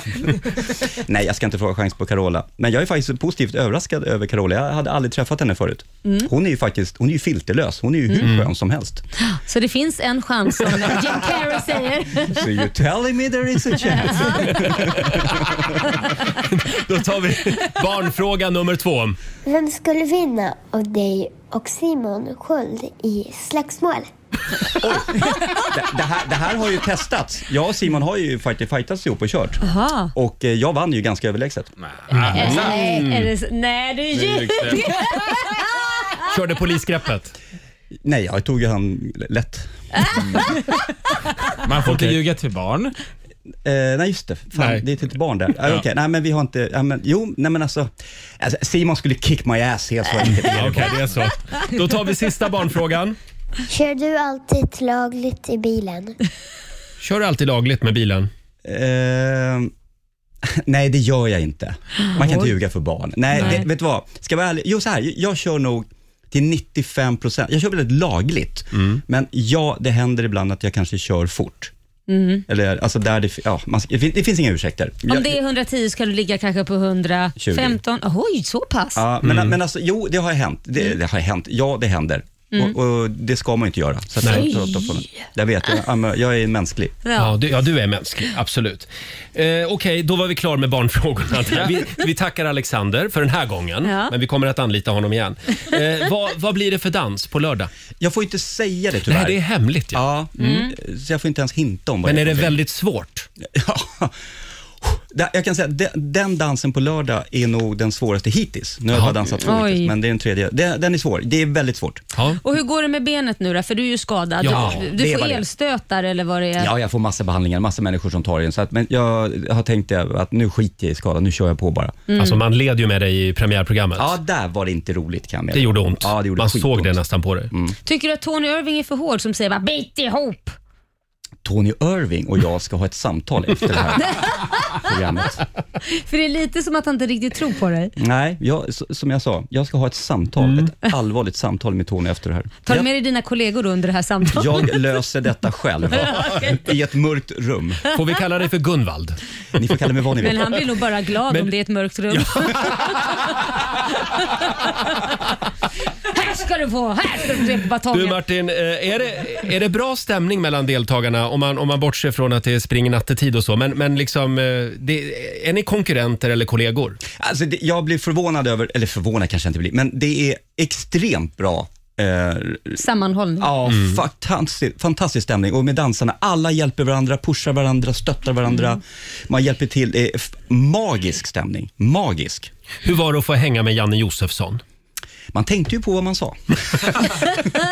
S11: Nej, jag ska inte fråga chans på Carola. Men jag är faktiskt positivt överraskad över Carola. Jag hade aldrig träffat henne förut.
S4: Mm.
S11: Hon är ju faktiskt hon är ju filterlös. Hon är ju hur
S4: Mm.
S11: skön som helst.
S4: Så det finns en chans som Jim Carrey säger.
S11: So you're telling me there is a chance.
S1: Då tar vi barnfråga nummer två.
S17: Vem skulle vinna av dig och Simon Sköld i slagsmål?
S11: Det, det, här, det här har ju testats. Jag och Simon har ju fight- fightats ihop och kört.
S4: Aha.
S11: Och eh, jag vann ju ganska överlägset.
S4: Eh, Nej, är det, s- nej, du ljuger.
S1: Körde polisgreppet?
S11: Nej, jag tog ju han lätt.
S6: Man får inte ljuga till barn.
S11: Eh, nej, just det. Fan,
S6: Nej.
S11: Det är till ett barn där. Ah,
S6: Ja.
S11: Okej, nej men vi har inte... ja, men, jo, nej men alltså, alltså. Simon skulle kick my ass helt så enkelt.
S1: Okej, det är så. Då tar vi sista barnfrågan.
S17: Kör du alltid lagligt i bilen?
S1: Kör du alltid lagligt med bilen?
S11: Eh, nej, det gör jag inte. Man kan inte
S1: Oj.
S11: ljuga för barn. Nej,
S1: Nej.
S11: Det, vet du vad? Ska jag vara ärlig? Jo, så här. Jag kör nog till 95 procent. Jag kör väldigt lagligt,
S1: Mm.
S11: men ja, det händer ibland att jag kanske kör fort.
S4: Mm.
S11: Eller, alltså där det, ja, man, det, finns, det finns inga ursäkter.
S4: Om
S11: Jag-
S4: det är 110 ska du ligga kanske på 115. Oj, så pass? Mm.
S1: Mm.
S11: Ja, men, men alltså, jo, det har hänt. Det, det har hänt. Ja, det händer.
S4: Mm.
S11: Och, och det ska man ju inte göra. Så att
S1: Nej.
S11: jag, pratar på mig. jag vet, jag, ja, men jag är mänsklig.
S1: Ja. du, ja, du är mänsklig. Absolut. Eh, Okej, då var vi klar med barnfrågorna. Vi, vi tackar Alexander för den här gången,
S11: Ja.
S1: men vi kommer att anlita honom igen. Eh, vad, vad blir det för dans på lördag?
S11: Jag får inte säga det tyvärr.
S1: Nej, det är hemligt.
S11: Ja.
S1: Mm.
S11: Så jag får inte ens hinta om vad
S1: Men är det
S11: för någonting.
S1: väldigt svårt?
S11: Det- Jag kan säga att de- den dansen på lördag är nog den svåraste hittills. Nu har jag
S4: Ja.
S11: bara dansat två
S4: Oj.
S11: hittills, men det är den tredje. Den, den är svår. Det är väldigt svårt.
S4: Och hur går det med benet nu då? För du är ju skadad.
S11: Ja,
S4: du
S11: det
S4: du
S11: är
S4: får
S11: vad det är.
S4: elstötar eller vad det är.
S11: Ja, jag får massa behandlingar, massa människor som tar in. Så att, men jag har tänkt det, att nu skiter jag i skadan, nu kör jag på bara.
S4: Mm. Alltså,
S1: man led ju med dig i premiärprogrammet.
S11: Ja, där var det inte roligt kan jag
S1: Det gjorde ont.
S11: Ja, det gjorde
S1: Man
S11: skitont. Mm.
S1: såg det nästan på dig.
S4: Tycker du att Tony Irving är för hård som säger bara bit ihop?
S11: Tony Irving och jag ska ha ett samtal efter det här programmet.
S4: För det är lite som att han inte riktigt tror på dig.
S11: Nej, jag, s- som jag sa, jag ska ha ett samtal,
S1: Mm.
S11: ett allvarligt samtal med Tony efter det här.
S4: Tar du
S11: Jag-
S4: med dig dina kollegor då under det här samtalet?
S11: Jag löser detta själv i ett mörkt rum.
S4: Får vi
S1: kalla dig för Gunvald?
S11: Ni får kalla mig vad ni vill.
S4: Men han blir nog bara glad
S11: Men-
S4: om det är ett mörkt rum. här ska du få, här ska du se på
S1: Du
S4: batongen.
S1: Martin, eh, är det, är det bra stämning mellan deltagarna om man, om man bortser från att det springer nattetid och så? Men, men liksom, eh, det, är ni konkurrenter eller kollegor?
S11: Alltså, det, jag blir förvånad över, eller förvånad kanske jag inte blir, men det är extremt bra eh,
S4: Sammanhållning.
S11: Ja,
S1: Mm.
S11: fantastisk, fantastisk stämning. Och med dansarna, alla hjälper varandra, pushar varandra, stöttar varandra.
S1: Mm.
S11: Man hjälper till. Det är f- magisk stämning. Magisk.
S1: Hur var det att få hänga med Janne Josefsson?
S11: Man tänkte ju på vad man sa.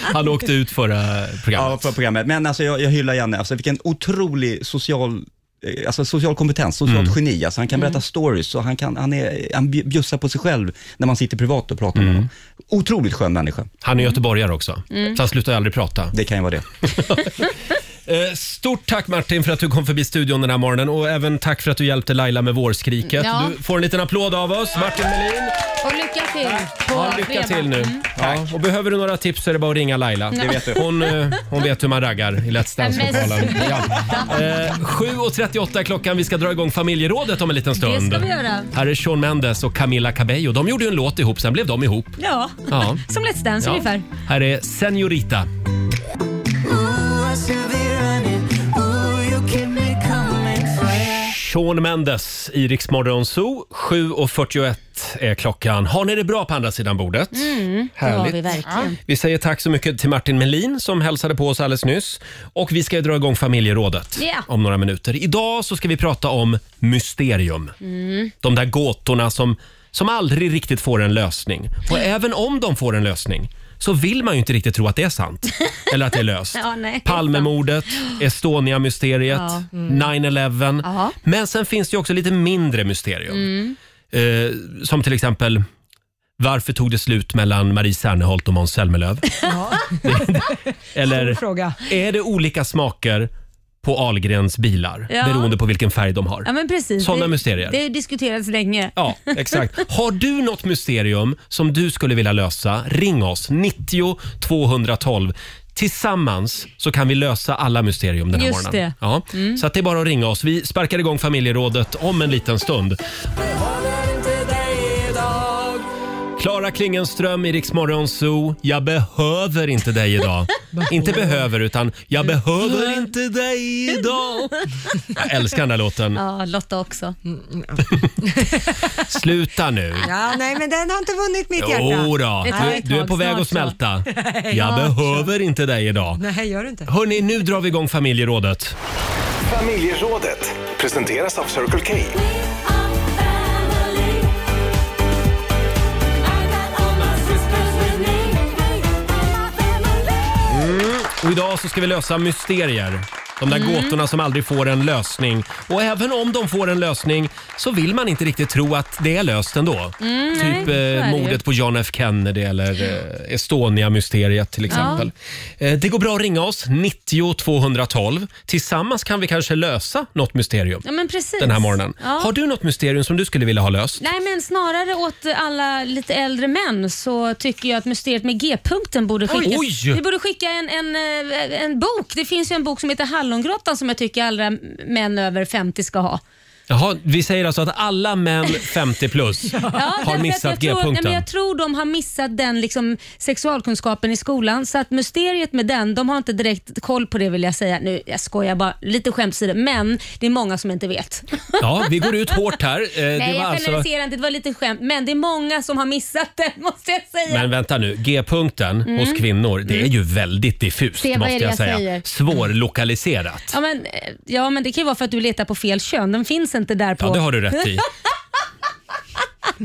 S1: Han åkte ut förra programmet.
S11: Ja, förra programmet. Men alltså, jag, jag hyllar Janne. Alltså, vilken otrolig social, eh, alltså, social kompetens, socialt geni. Alltså, han kan berätta
S1: Mm.
S11: stories och han, kan, han, är, han bj- bjussar på sig själv när man sitter privat och pratar
S1: Mm.
S11: med honom. Otroligt skön människa.
S1: Han är göteborgare också,
S11: Mm.
S1: så han slutar aldrig prata.
S11: Det kan ju vara det.
S1: Eh, Stort tack Martin för att du kom förbi studion den här morgonen och även tack för att du hjälpte Laila med vårskriket.
S4: Ja.
S1: Du får en liten applåd av oss, Martin Melin.
S4: Och lycka till. På
S1: Ja, lycka
S4: fredag.
S1: till nu.
S4: Mm.
S1: Ja, och behöver du några tips så är det bara att ringa Laila.
S4: Det vet du.
S1: hon, eh, hon vet hur man raggar i Let's
S4: Nej, men
S1: Dance-lokalen.
S4: sluta.
S1: Ja. Eh, 7.38 är klockan. Vi ska dra igång familjerådet om en liten stund.
S4: Det ska vi göra.
S1: Här är Shawn Mendes och Camila Cabello. De gjorde ju en låt ihop, sen blev de ihop.
S4: Ja,
S1: Ja.
S4: som Let's Dance
S1: Ja.
S4: ungefär.
S1: Här är Senorita.
S4: Mm,
S1: Sean Mendes i Rix Morgon Zoo. 7.41 är klockan. Har ni det bra på andra sidan bordet?
S4: Mm, det
S1: Härligt.
S4: har vi verkligen.
S1: Vi säger tack så mycket till Martin Melin som hälsade på oss alldeles nyss. Och vi ska ju dra igång familjerådet
S4: Ja.
S1: om några minuter. Idag så ska vi prata om mysterium.
S4: Mm.
S1: De där gåtorna som, som aldrig riktigt får en lösning. Och även om de får en lösning så vill man ju inte riktigt tro att det är sant. Eller att det är löst.
S4: Ja, nej.
S1: Palmemordet, Estonia-mysteriet,
S4: Ja. Mm.
S1: 9-11. Men sen finns det ju också lite mindre mysterium.
S4: Mm.
S1: Eh, som till exempel varför tog det slut mellan Marie Serneholt och Måns Zelmerlöw? Eller
S2: Fråga.
S1: är det olika smaker på Ahlgrens bilar
S4: Ja.
S1: beroende på vilken färg de har?
S4: Ja, men precis.
S1: Sådana
S4: det,
S1: mysterier.
S4: Det har diskuterats länge.
S1: Ja, exakt. Har du något mysterium som du skulle vilja lösa? Ring oss, 90 212. Tillsammans så kan vi lösa alla mysterium den här
S4: Just
S1: morgonen.
S4: det.
S1: Ja.
S4: Mm.
S1: Så att det är bara att ringa oss. Vi sparkar igång familjerådet om en liten stund. Klara Klingenström i Rix Morgon Zoo. Jag behöver inte dig idag. inte behöver, utan jag behöver inte dig idag. Jag älskar den där låten.
S4: Ja, Lotta också.
S1: Mm. Sluta nu.
S2: Ja, nej, men den har inte vunnit mitt hjärta.
S1: Jo då,
S2: Nej.
S1: du, du är på väg att smälta. Jag behöver inte dig idag.
S2: Nej, gör du inte.
S1: Hörni, nu drar vi igång familjerådet.
S5: Familjerådet presenteras av Circle K.
S1: Mm. Och idag så ska vi lösa mysterier. De där
S4: Mm.
S1: gåtorna som aldrig får en lösning. Och även om de får en lösning så vill man inte riktigt tro att det är löst ändå.
S4: Mm, nej,
S1: typ
S4: så är det
S1: eh,
S4: ju.
S1: mordet på John F Kennedy eller eh, Estonia-mysteriet till exempel. Eh, det går bra att ringa oss, 90 212. Tillsammans kan vi kanske lösa något mysterium
S4: Ja, men precis.
S1: den här morgonen.
S4: Ja.
S1: Har du något mysterium som du skulle vilja ha löst?
S4: Nej, men snarare åt alla lite äldre män så tycker jag att mysteriet med G-punkten borde skickas.
S1: Oj!
S4: Vi borde skicka en, en, eh, en bok. Det finns ju en bok som heter Hallongrottan som jag tycker alla män över 50 ska ha.
S1: Jaha, vi säger alltså att alla män 50 plus
S4: därför
S1: har
S4: att
S1: missat
S4: jag tror, nej, men
S1: G-punkten.
S4: Jag tror de har missat den liksom, sexualkunskapen i skolan, så att mysteriet med den, de har inte direkt koll på det vill jag säga. Nu, jag skojar bara, lite skämt åsido, men det är många som inte vet.
S1: Ja, vi går ut hårt här. Eh, det
S4: nej,
S1: var
S4: jag
S1: alltså-
S4: generaliserar inte, det var lite skämt, men det är många som har missat den måste jag säga.
S1: Men vänta nu, G-punkten
S4: Mm.
S1: hos kvinnor, det är ju väldigt diffust
S4: Det är vad
S1: måste
S4: är det
S1: jag
S4: jag
S1: säga.
S4: säger?
S1: Svårlokaliserat.
S4: Ja men, eh, ja, men det kan ju vara för att du letar på fel kön. Den finns inte där på...
S1: Ja, det har du rätt i.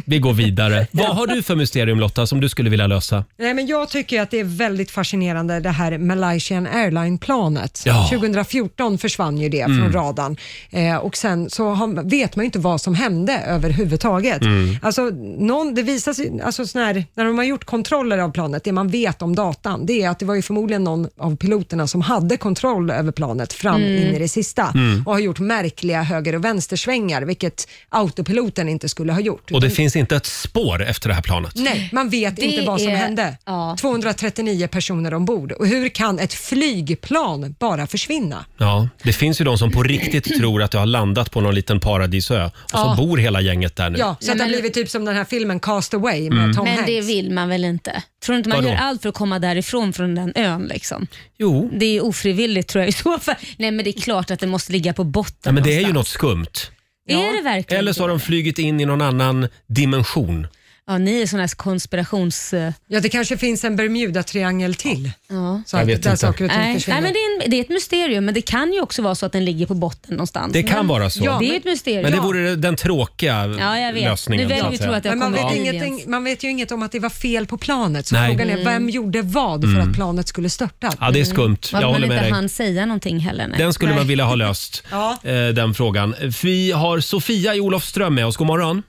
S1: Vi går vidare. Vad har du för mysterium Lotta som du skulle vilja lösa?
S2: Nej, men jag tycker att det är väldigt fascinerande det här Malaysian Airline-planet.
S1: Ja.
S2: 2014 försvann ju det
S1: Mm.
S2: från radarn eh, och sen så har, vet man ju inte vad som hände överhuvudtaget.
S18: Mm.
S2: Alltså, någon, det visar sig, alltså, sån här, när de har gjort kontroller av planet, det man vet om datan, det är att det var ju förmodligen någon av piloterna som hade kontroll över planet fram
S18: Mm.
S2: in i det sista
S1: Mm.
S2: och har gjort märkliga höger och vänstersvängar, vilket autopiloten inte skulle ha gjort.
S1: Och det
S2: Utan-
S1: finns inte ett spår efter det här planet.
S2: Nej, man vet
S4: Det
S2: inte vad som
S4: är-
S2: hände. 239 personer ombord. Och hur kan ett flygplan bara försvinna?
S1: Ja, det finns ju de som på riktigt tror att du har landat på någon liten paradisö och
S2: Ja.
S1: så bor hela gänget där nu.
S2: Ja, så att det har blivit typ som den här filmen Cast Away med
S1: Mm.
S2: Tom
S4: Men
S2: Hanks.
S4: det vill man väl inte? Tror du inte man
S1: Vadå?
S4: gör allt för att komma därifrån från den ön? Liksom?
S1: Jo.
S4: Det är ofrivilligt tror jag i så fall. Nej men det är klart att det måste ligga på botten
S1: Ja, men det är ju
S4: någonstans.
S1: något skumt.
S4: Är det verkligen
S1: Eller så har de flugit in i någon annan dimension.
S4: Ja, ni är sådana här konspirations...
S2: Ja, det kanske finns en Bermuda-triangel till.
S4: Ja.
S2: Så Jag att vet där inte. saker och ting
S4: Nej.
S2: försvinner.
S4: Nej, men det, är en, det är ett mysterium, men det kan ju också vara så att den ligger på botten någonstans.
S1: Det kan
S4: Mm. Men-
S1: vara så.
S4: det är ett mysterium.
S1: Men det vore den tråkiga
S4: Ja, jag vet.
S1: lösningen.
S4: Nu väljer
S1: så att
S4: vi
S1: säga.
S4: tro att det har
S2: Men man
S4: kommer
S2: vet,
S4: av
S2: ingenting, man vet ju inget om att det var fel på planet, så
S1: Nej.
S2: frågan är
S1: Mm.
S2: vem gjorde vad för
S1: Mm.
S2: att planet skulle störta?
S1: Ja, det är skumt. Jag
S4: Varför
S1: håller
S4: man
S1: med
S4: Mm. inte
S1: dig.
S4: hann säga någonting heller. Nej.
S1: Den skulle
S4: Nej.
S1: man vilja ha löst,
S4: Ja.
S1: eh, den frågan. Vi har Sofia i Olofström med oss. God morgon.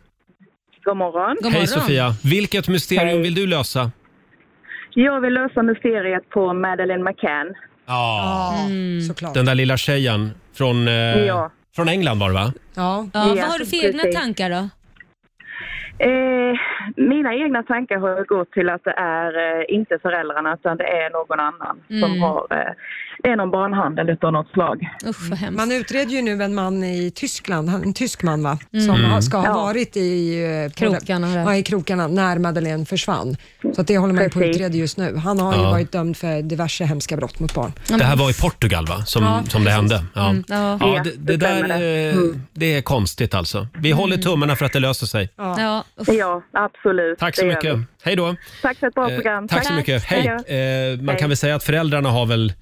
S19: God morgon.
S1: Hej Sofia. Vilket mysterium vill du lösa?
S19: Jag vill lösa mysteriet på Madeleine McCann.
S1: Ja,
S19: Mm.
S2: såklart.
S1: Ah. Den där lilla tjejen från, eh,
S19: Ja.
S1: från England var det va?
S2: Ja.
S4: Ja, vad har du för egna
S19: precis.
S4: tankar då?
S19: Eh, mina egna tankar har gått till att det är eh, inte föräldrarna utan det är någon annan som
S2: Mm.
S19: har... Eh, det är någon barnhandel utav något slag.
S2: Man utreder ju nu en man i Tyskland, han- en tysk man va?
S19: Mm.
S2: Som
S19: Mm.
S2: har- ska ha
S19: Ja.
S2: varit i, eh, på-
S4: Krokarna där.
S2: ja, i krokarna när Madeleine försvann. Så att det håller man ju på att
S4: Precis.
S2: utreda just nu. Han har ju
S1: Ja.
S2: varit dömd för diverse hemska brott mot barn.
S1: Det här var i Portugal va? Som,
S2: Ja,
S1: som det hände. Ja.
S2: Mm, ja.
S1: Ja, det, det
S2: Det
S1: där
S2: stämmer det.
S1: eh, det är konstigt alltså. Vi håller tummarna för att det löser sig.
S19: Ja, absolut.
S1: Tack så
S19: Det gör
S1: mycket.
S19: vi.
S1: Hej då.
S19: Tack för ett bra
S1: Eh,
S19: program.
S1: Tack så mycket. Hej. Eh, man
S19: Hej.
S1: kan väl säga att föräldrarna har väl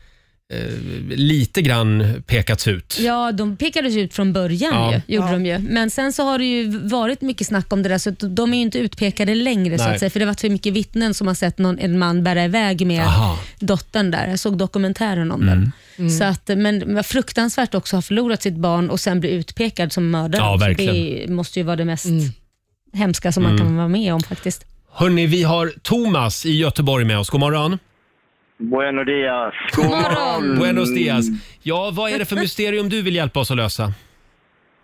S1: eh, lite grann pekats ut.
S4: Ja, de pekades ju ut från början.
S1: Ja.
S4: Ju, gjorde de ju. Men sen så har det ju varit mycket snack om det där, så att de är ju inte utpekade längre. Så
S1: Nej.
S4: att säga, för Det har varit för mycket vittnen som har sett någon, en man bära iväg med
S1: Aha.
S4: dottern där. Jag såg dokumentären
S19: Mm.
S4: om den.
S1: Mm.
S4: Så att, eh, men det var fruktansvärt också att ha förlorat sitt barn och sen bli utpekad som mördare.
S1: Ja,
S4: Så
S1: verkligen.
S4: Det måste ju vara det mest hemska som man
S1: Mm.
S4: kan vara med om faktiskt.
S1: Hörni, vi har Thomas i Göteborg med oss. God morgon.
S20: Buenos dias. God morgon.
S1: Buenos dias. Ja, vad är det för mysterium du vill hjälpa oss att lösa?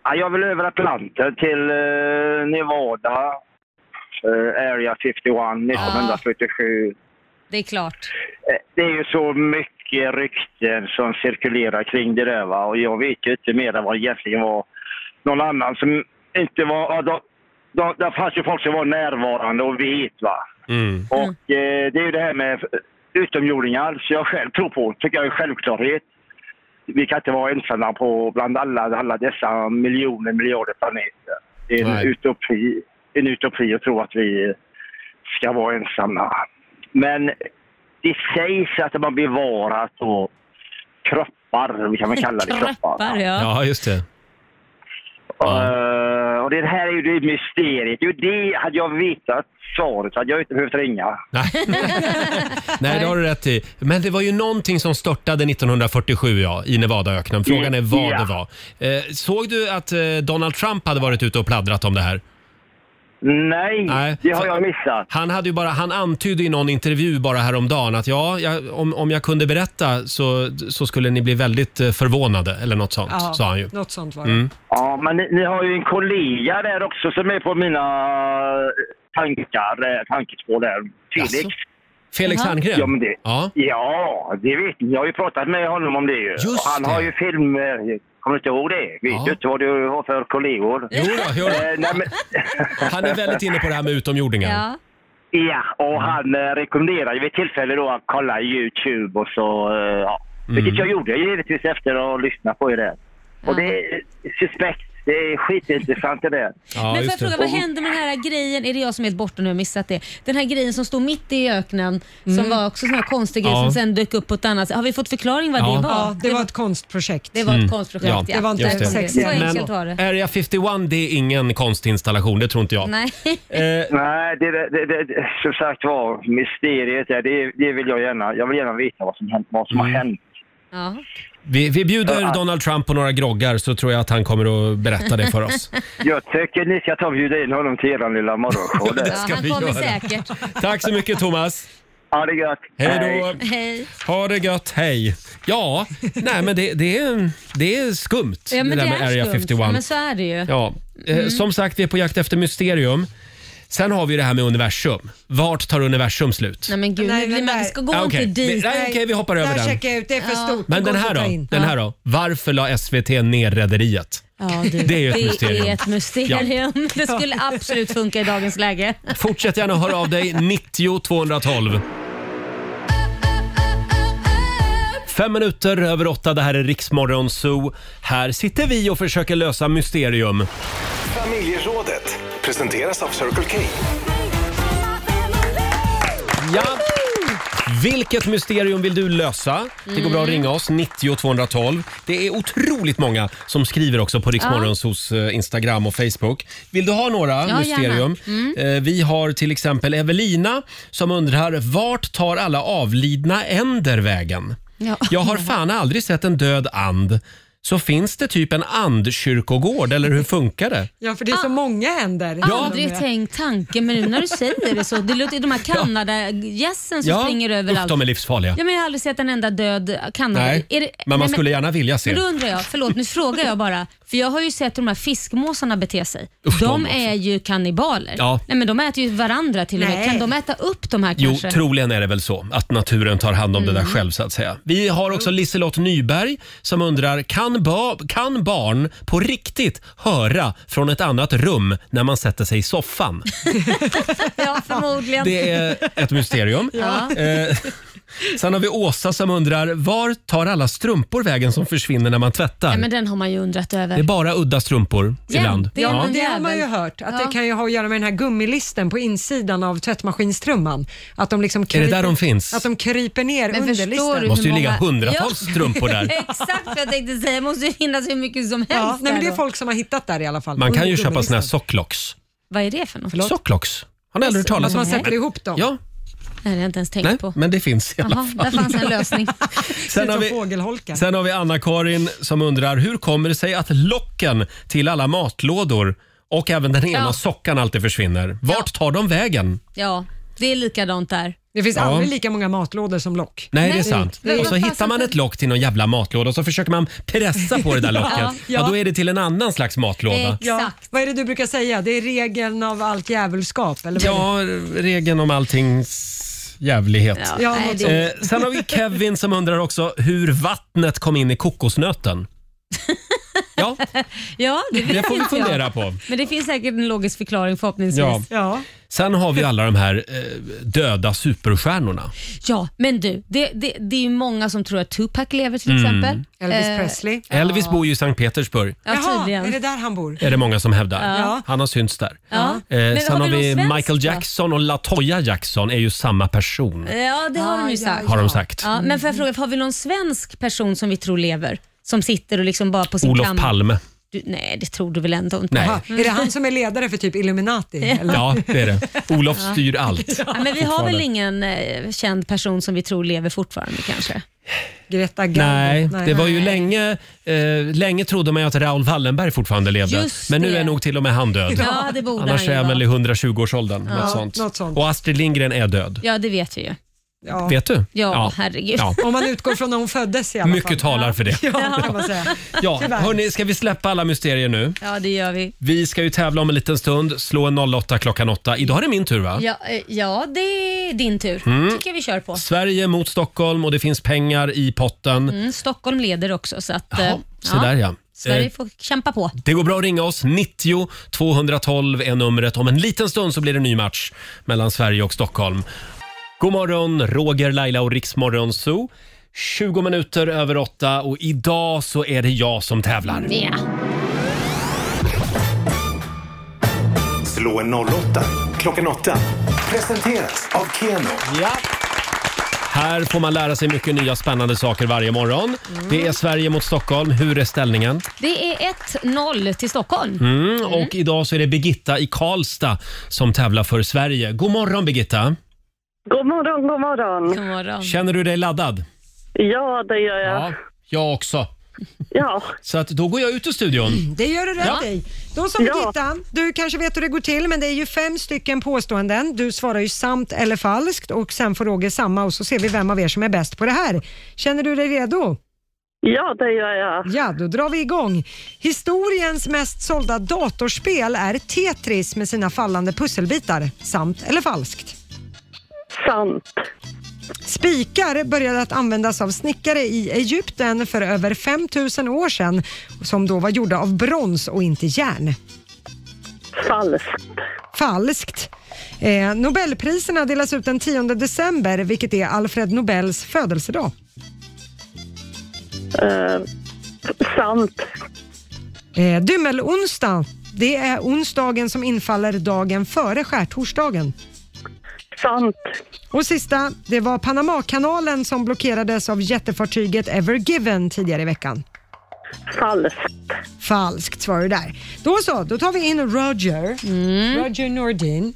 S20: Ja, jag vill över Atlanten till eh, Nevada, eh, Area 51, 1947.
S4: Det är klart.
S20: Eh, Det är ju så mycket rykten som cirkulerar kring det där va? och jag vet ju inte mer än vad det egentligen var någon annan som inte var... Ja, de, de, det fanns ju folk som var närvarande och vet va.
S4: Mm.
S20: Och eh, det är ju det här med utomjordingar, så jag själv tror på, tycker jag är självklarhet. Vi kan inte vara ensamma på bland alla, alla dessa miljoner, miljarder planeter. Det är
S21: Nej.
S20: en utopi, en utopi att tro att vi ska vara ensamma. Men det sägs att man bevarat då kroppar, vi kan väl kalla det kroppar.
S1: Ja, just det.
S20: Eh, och det här är ju det mysteriet. Jo, det hade jag vetat svaret hade jag inte behövt ringa.
S1: Nej, det har du rätt i. Men det var ju någonting som störtade 1947 ja, i Nevadaöknen. Frågan är vad
S20: Ja.
S1: det var. Eh, såg du att eh, Donald Trump hade varit ute och pladdrat om det här?
S20: Nej, det har jag missat.
S1: Han, hade ju bara, han antydde i någon intervju bara häromdagen att ja, jag, om, om jag kunde berätta så, så skulle ni bli väldigt eh, förvånade eller något sånt, sa han ju.
S2: Något sånt var det.
S1: Mm.
S20: Ja, men ni, ni har ju en kollega där också som är på mina tankar, eh, tankespår där. Felix.
S1: Jaså? Felix Jaha. Herngren?
S20: Ja, men det,
S1: ja.
S20: ja, det vet ni. Jag har ju pratat med honom om det ju.
S1: Just
S20: Och han
S1: det.
S20: har ju filmer. Kommer du inte ihåg det? Vet
S1: Ja.
S20: du inte vad du har för kollegor?
S1: Jo då, jo då.
S20: Eh, nej, men...
S1: Han är väldigt inne på det här med utomjordingar.
S20: Ja,
S1: Mm.
S20: och han eh, rekommenderade vid ett tillfälle då att kolla YouTube och så, eh, ja. Vilket
S1: Mm.
S20: jag gjorde givetvis efter att ha lyssnat på er där. Och det
S1: Mm.
S20: är suspekt. Det är skitintressant det där.
S1: Ja,
S4: Men får jag fråga, vad hände med den här grejen? Är det jag som är helt borta nu och missat det? Den här grejen som stod mitt i öknen,
S1: Mm.
S4: som var också sån här konstig grej
S2: Ja.
S4: som sen dök upp på ett annat sätt. Har vi fått förklaring vad
S2: Ja.
S4: det var?
S2: Ja, det var ett konstprojekt.
S4: Det var ett konstprojekt, ja.
S2: Det var inte
S1: Mm. just
S2: ett sexigt.
S4: Så enkelt var det.
S1: Men Area 51 det är ingen konstinstallation, det tror inte jag.
S4: Nej.
S1: Eh.
S20: Nej, det, det, det, det, som sagt var, mysteriet där, det, det vill jag gärna. Jag vill gärna veta vad som, hänt, vad som
S1: Mm.
S20: har hänt.
S4: Ja.
S1: Vi, vi bjuder
S20: Ja.
S1: Donald Trump på några groggar så tror jag att han kommer att berätta det för oss.
S20: Jag tycker ni ska ta och bjuda in honom till er lilla morgonshow. där.
S1: Ja, det ska
S4: Han
S1: vi
S4: kommer
S1: göra.
S4: säkert.
S1: Tack så mycket Thomas.
S20: Ha det gött.
S1: Hej då.
S4: Hej.
S1: Ha det gött, hej. Ja, nej men det, det, är, det är skumt
S4: Ja, men
S1: det
S4: det,
S1: där med
S4: är
S1: Area
S4: skumt.
S1: 51.
S4: Ja, men så är det ju.
S1: Ja, eh,
S4: Mm.
S1: som sagt vi är på jakt efter mysterium. Sen har vi ju det här med universum. Vart tar universum slut?
S4: Nej men gud,
S2: Nej,
S4: nej,
S2: men
S4: man
S2: där-
S4: ska gå
S1: Ah,
S4: inte
S1: okej.
S4: dit.
S1: Vi- nej, okej, vi hoppar över
S2: Där
S1: den.
S2: checkar jag ut, det är för
S4: Ja.
S2: stort.
S1: Men
S2: Det
S1: den
S2: går
S1: här
S2: inte att ta
S1: då?
S2: in.
S1: Den här då? Varför la SVT ner Rederiet?
S4: Ja, du,
S1: Det är ju ett
S4: det
S1: mysterium.
S4: Är ett mysterium. Det skulle absolut funka i dagens läge.
S1: Fortsätt gärna höra av dig, 90 212. Fem minuter över åtta, det här är Riksmorgon Zoo. Här sitter vi och försöker lösa mysterium.
S5: Familjerådet presenteras av Circle K.
S1: Ja. Vilket mysterium vill du lösa? Det går bra att
S4: Mm.
S1: ringa oss, 90 212. Det är otroligt många som skriver också på Riksmorgons hos eh, Instagram och Facebook. Vill du ha några
S5: Ja,
S1: mysterium?
S4: Mm.
S5: gärna.
S1: Eh, Vi har till exempel Evelina som undrar vart tar alla avlidna änder vägen?
S4: Ja.
S1: Jag har fan aldrig sett en död and. Så finns det typ en andkyrkogård eller hur funkar det?
S2: Ja, för det är
S4: Ah.
S2: så många händer.
S4: Aldrig tänkt tanken, men nu när du säger det så. Det låter de här kanadagässen som
S1: Ja,
S4: springer
S1: Usch,
S4: överallt.
S1: de är livsfarliga.
S4: Ja, men jag har aldrig sett en enda död kanada.
S1: Nej,
S4: Är det-
S1: men man
S4: nej,
S1: skulle gärna vilja se.
S4: Men då undrar jag, förlåt nu frågar jag bara, för jag har ju sett hur de här fiskmåsarna bete sig. de
S1: de alltså.
S4: är ju kannibaler.
S1: Ja.
S4: Nej, men de äter ju varandra till och med. Kan de äta upp de här
S1: Jo,
S4: kanske?
S1: troligen är det väl så att naturen tar hand om det där
S4: Mm.
S1: själv så att säga. Vi har också Liselott Nyberg som undrar, kan, ba- kan barn på riktigt höra från ett annat rum när man sätter sig i soffan?
S4: ja, förmodligen.
S1: Det är ett mysterium.
S4: Ja.
S1: Eh, sen har vi Åsa som undrar, var tar alla strumpor vägen som försvinner när man tvättar?
S4: Nej, men den har man ju undrat över.
S1: Det är bara udda strumpor ibland.
S4: det är
S2: Ja,
S4: någon
S2: men det har
S4: jävel.
S2: man ju hört. Att
S4: Ja.
S2: Det kan ju ha att göra med den här gummilisten på insidan av tvättmaskinstrumman. Att de liksom
S1: det där de finns?
S2: Att de kryper ner
S4: Men
S2: under
S4: förstår
S2: listen.
S4: du
S1: Måste ju hur ligga många- hundratals strumpor där.
S4: Exakt vad jag tänkte säga. Det måste ju finnas hur mycket som helst.
S2: Ja, nej, men det är
S4: där
S2: folk som har hittat där i alla fall.
S1: Man kan
S2: under
S1: ju köpa
S2: gummilistan.
S1: såna här socklocks.
S4: Vad är det för något?
S1: Socklocks. Har ni aldrig
S4: Alltså,
S1: hört talas
S2: Att
S1: om?
S2: man sätter ihop dem.
S1: Ja,
S4: Nej, det har jag inte ens tänkt
S1: nej,
S4: på.
S1: men det finns i alla
S4: Jaha,
S1: fall.
S4: där fanns en lösning.
S1: Sen har, vi, sen har vi Anna-Karin som undrar hur kommer det sig att locken till alla matlådor och även den ena
S4: Ja.
S1: sockan alltid försvinner? Vart tar de vägen?
S4: Ja, det är likadant där.
S2: Det finns
S1: Ja.
S2: aldrig lika många matlådor som lock.
S1: Nej, det är sant.
S4: Nej.
S1: Och så
S4: Vad
S1: hittar man ett lock till någon jävla matlåda och så försöker man pressa på det där locket. ja.
S2: Ja.
S1: då är det till en annan slags matlåda.
S2: Ja, vad är det du brukar säga? Det är regeln av allt djävulskap? Eller vad är det?
S1: Ja, regeln om alltings jävlighet.
S2: Ja, Ja, nej, något det-
S1: Eh, sen har vi Kevin som undrar också hur vattnet kom in i kokosnöten.
S4: Ja, det,
S1: Det
S4: vet
S1: får vi
S4: inte jag.
S1: fundera på.
S4: Men det finns säkert en logisk förklaring förhoppningsvis.
S1: Ja.
S4: Ja,
S1: Sen har vi alla de här eh, döda superstjärnorna.
S4: men du, det, det, det är ju många som tror att Tupac lever till
S1: Mm.
S4: exempel.
S2: Elvis
S4: Eh,
S2: Presley.
S1: Elvis bor ju i Sankt Petersburg,
S4: Ja,
S2: Jaha,
S4: tydligen.
S2: är det där han bor?
S1: är det många som hävdar.
S2: Ja.
S1: Han har synts där.
S4: Ja.
S1: Eh, sen har
S4: någon
S1: vi
S4: svensk
S1: Michael
S4: då?
S1: Jackson och Latoya Jackson är ju samma person.
S4: Ja, det har de ju sagt.
S1: Har de sagt.
S4: Ja, men får jag fråga, har vi någon svensk person som vi tror lever? Som sitter och liksom bara på sin
S1: Olof
S4: kam-
S1: Palme.
S4: Du, nej, det tror du väl ändå inte?
S1: Nej.
S2: Jaha, Är det han som är ledare för typ Illuminati? Eller?
S1: Ja, det är det. Olof
S4: Ja.
S1: styr allt.
S4: Ja, men vi har väl
S1: fortfarande.
S4: ingen eh, känd person som vi tror lever fortfarande kanske?
S2: Greta
S1: Nej,
S4: Nej.
S1: det var ju länge, eh, länge trodde man ju att Raoul Wallenberg fortfarande levde.
S4: Just
S1: Men nu
S4: det.
S1: är nog till och med han död.
S4: Ja, det borde
S1: Annars
S4: han ju
S1: är han
S4: vara.
S1: väl i 120-årsåldern.
S4: Ja,
S1: något, sånt.
S4: något sånt.
S1: Och Astrid Lindgren är död.
S4: Ja, det vet vi ju.
S1: Vet du?
S4: Ja, herregud.
S1: Ja.
S2: Om man utgår från när hon föddes i alla fall.
S1: Mycket talar för det.
S2: Ja, kan man säga.
S1: Ja,
S2: Tyvärr.
S1: hörni, ska vi släppa alla mysterier nu?
S4: Ja, det gör vi.
S1: Vi ska ju tävla om en liten stund. Slå en 08 klockan 8. Idag är det min tur va?
S4: Ja, eh, ja det är din tur.
S1: Mm.
S4: tycker jag vi kör på.
S1: Sverige mot Stockholm och det finns pengar i potten.
S4: Mm, Stockholm leder också. Så att, eh,
S1: Så där ja.
S4: Sverige
S1: Eh,
S4: får kämpa på.
S1: Det går bra att ringa oss. 90 212 är numret. Om en liten stund så blir det en ny match mellan Sverige och Stockholm. God morgon, Roger, Laila och Riksmorgon Zoo. 20 minuter över åtta och idag så är det jag som tävlar.
S4: Ja.
S5: Slå en 08 klockan 8. Presenteras av Keno.
S1: Ja. Här får man lära sig mycket nya spännande saker varje morgon. Det är Sverige mot Stockholm. Hur är ställningen?
S4: Det är 1-0 till Stockholm.
S1: Mm, och idag så är det Birgitta i Karlstad som tävlar för Sverige. God morgon Birgitta!
S21: God morgon, god morgon. God
S4: morgon.
S1: Känner du dig laddad?
S21: Ja, det gör jag.
S1: Ja, jag också.
S21: Ja.
S1: Så att då går jag ut ur studion.
S2: Det gör du rätt
S1: Ja.
S2: i. Då som
S21: Ja.
S2: Birgitta, du kanske vet hur det går till, men det är ju fem stycken påståenden. Du svarar ju sant eller falskt och sen får Roger samma och så ser vi vem av er som är bäst på det här. Känner du dig redo?
S21: Ja, det gör jag.
S2: Ja, då drar vi igång. Historiens mest sålda datorspel är Tetris med sina fallande pusselbitar. Sant eller falskt?
S21: Sant.
S2: Spikar började att användas av snickare i Egypten för över 5000 år sedan som då var gjorda av brons och inte järn.
S21: Falskt.
S2: Falskt. Eh, Nobelpriserna delas ut den 10 december, vilket är Alfred Nobels födelsedag.
S21: Eh, sant.
S2: Eh, Dymmelonsdag, det är onsdagen som infaller dagen före skärtorsdagen.
S21: Sant.
S2: Och sista, det var Panamakanalen som blockerades av jättefartyget Ever Given tidigare i veckan.
S21: Falskt.
S2: Falskt svarar du där. Då så, då tar vi in Roger. Roger Nordin.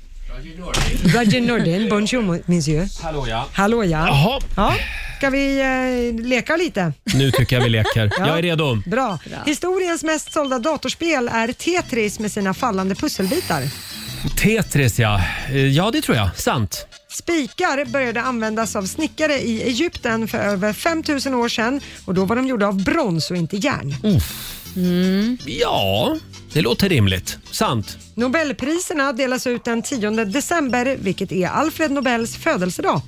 S2: Roger Nordin, bonjour monsieur.
S1: Hallå ja.
S2: Hallå ja. ja. Ska vi eh, leka lite?
S1: Nu tycker jag vi leker.
S2: Ja.
S1: Jag är redo.
S2: Bra. Historiens mest sålda datorspel är Tetris med sina fallande pusselbitar.
S1: Tetris ja. Eh, Ja, det tror jag. Sant.
S2: Spikar började användas av snickare i Egypten för över 5000 år sedan och då var de gjorda av brons och inte järn. Mm.
S1: Ja, det låter rimligt. Sant.
S2: Nobelpriserna delas ut den 10 december, vilket är Alfred Nobels födelsedag.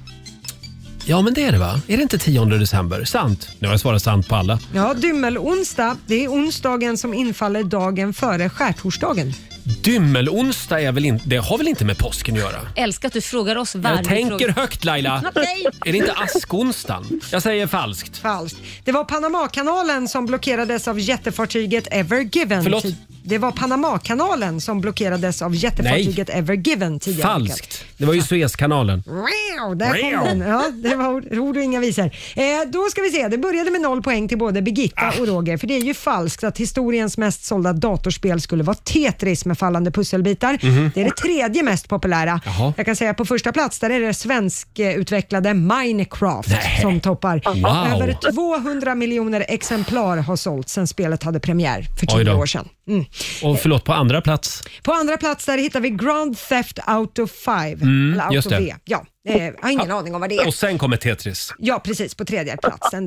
S1: Ja, men det är det va? Är det inte 10 december? Sant. Nu har jag svarat sant på alla.
S2: Ja, dymmelonsdag, det är onsdagen som infaller dagen före skärtorsdagen.
S1: Dymmelonsdag är väl in... det har väl inte med påsken att göra?
S4: Älskar att du frågar oss varje
S1: Jag tänker
S4: fråga.
S1: högt Laila.
S4: Okej.
S1: Är det inte askonsdagen? Jag säger falskt.
S2: Falskt. Det var Panamakanalen som blockerades av jättefartyget Ever Given.
S1: Förlåt?
S2: Ti- Det var Panamakanalen som blockerades av jättefartyget Ever Given tidigare.
S1: Falskt. Det var ju Suezkanalen.
S2: Wow, där kom
S1: Wow.
S2: den. Ja, det var ord- ord och inga visor. Eh, då ska vi se, det började med noll poäng till både Birgitta
S1: Ah.
S2: och Roger, för det är ju falskt att historiens mest sålda datorspel skulle vara Tetris med fallande pusselbitar.
S18: Mhm.
S2: Det är det tredje mest populära.
S18: Jaha.
S2: Jag kan säga på första plats, där är det svenskutvecklade Minecraft som toppar.
S18: Wow.
S2: Över 200 miljoner exemplar har sålts sedan spelet hade premiär för
S1: Oj
S2: tio
S1: då.
S2: år sedan. Mm.
S1: Och förlåt, på andra plats.
S2: På andra plats där hittar vi Grand Theft Auto 5.
S1: Mm,
S2: eller Auto
S1: just det.
S2: V. Ja, eh, jag har ingen aning om vad det är.
S1: Och sen kommer Tetris.
S2: Ja, precis. På tredje platsen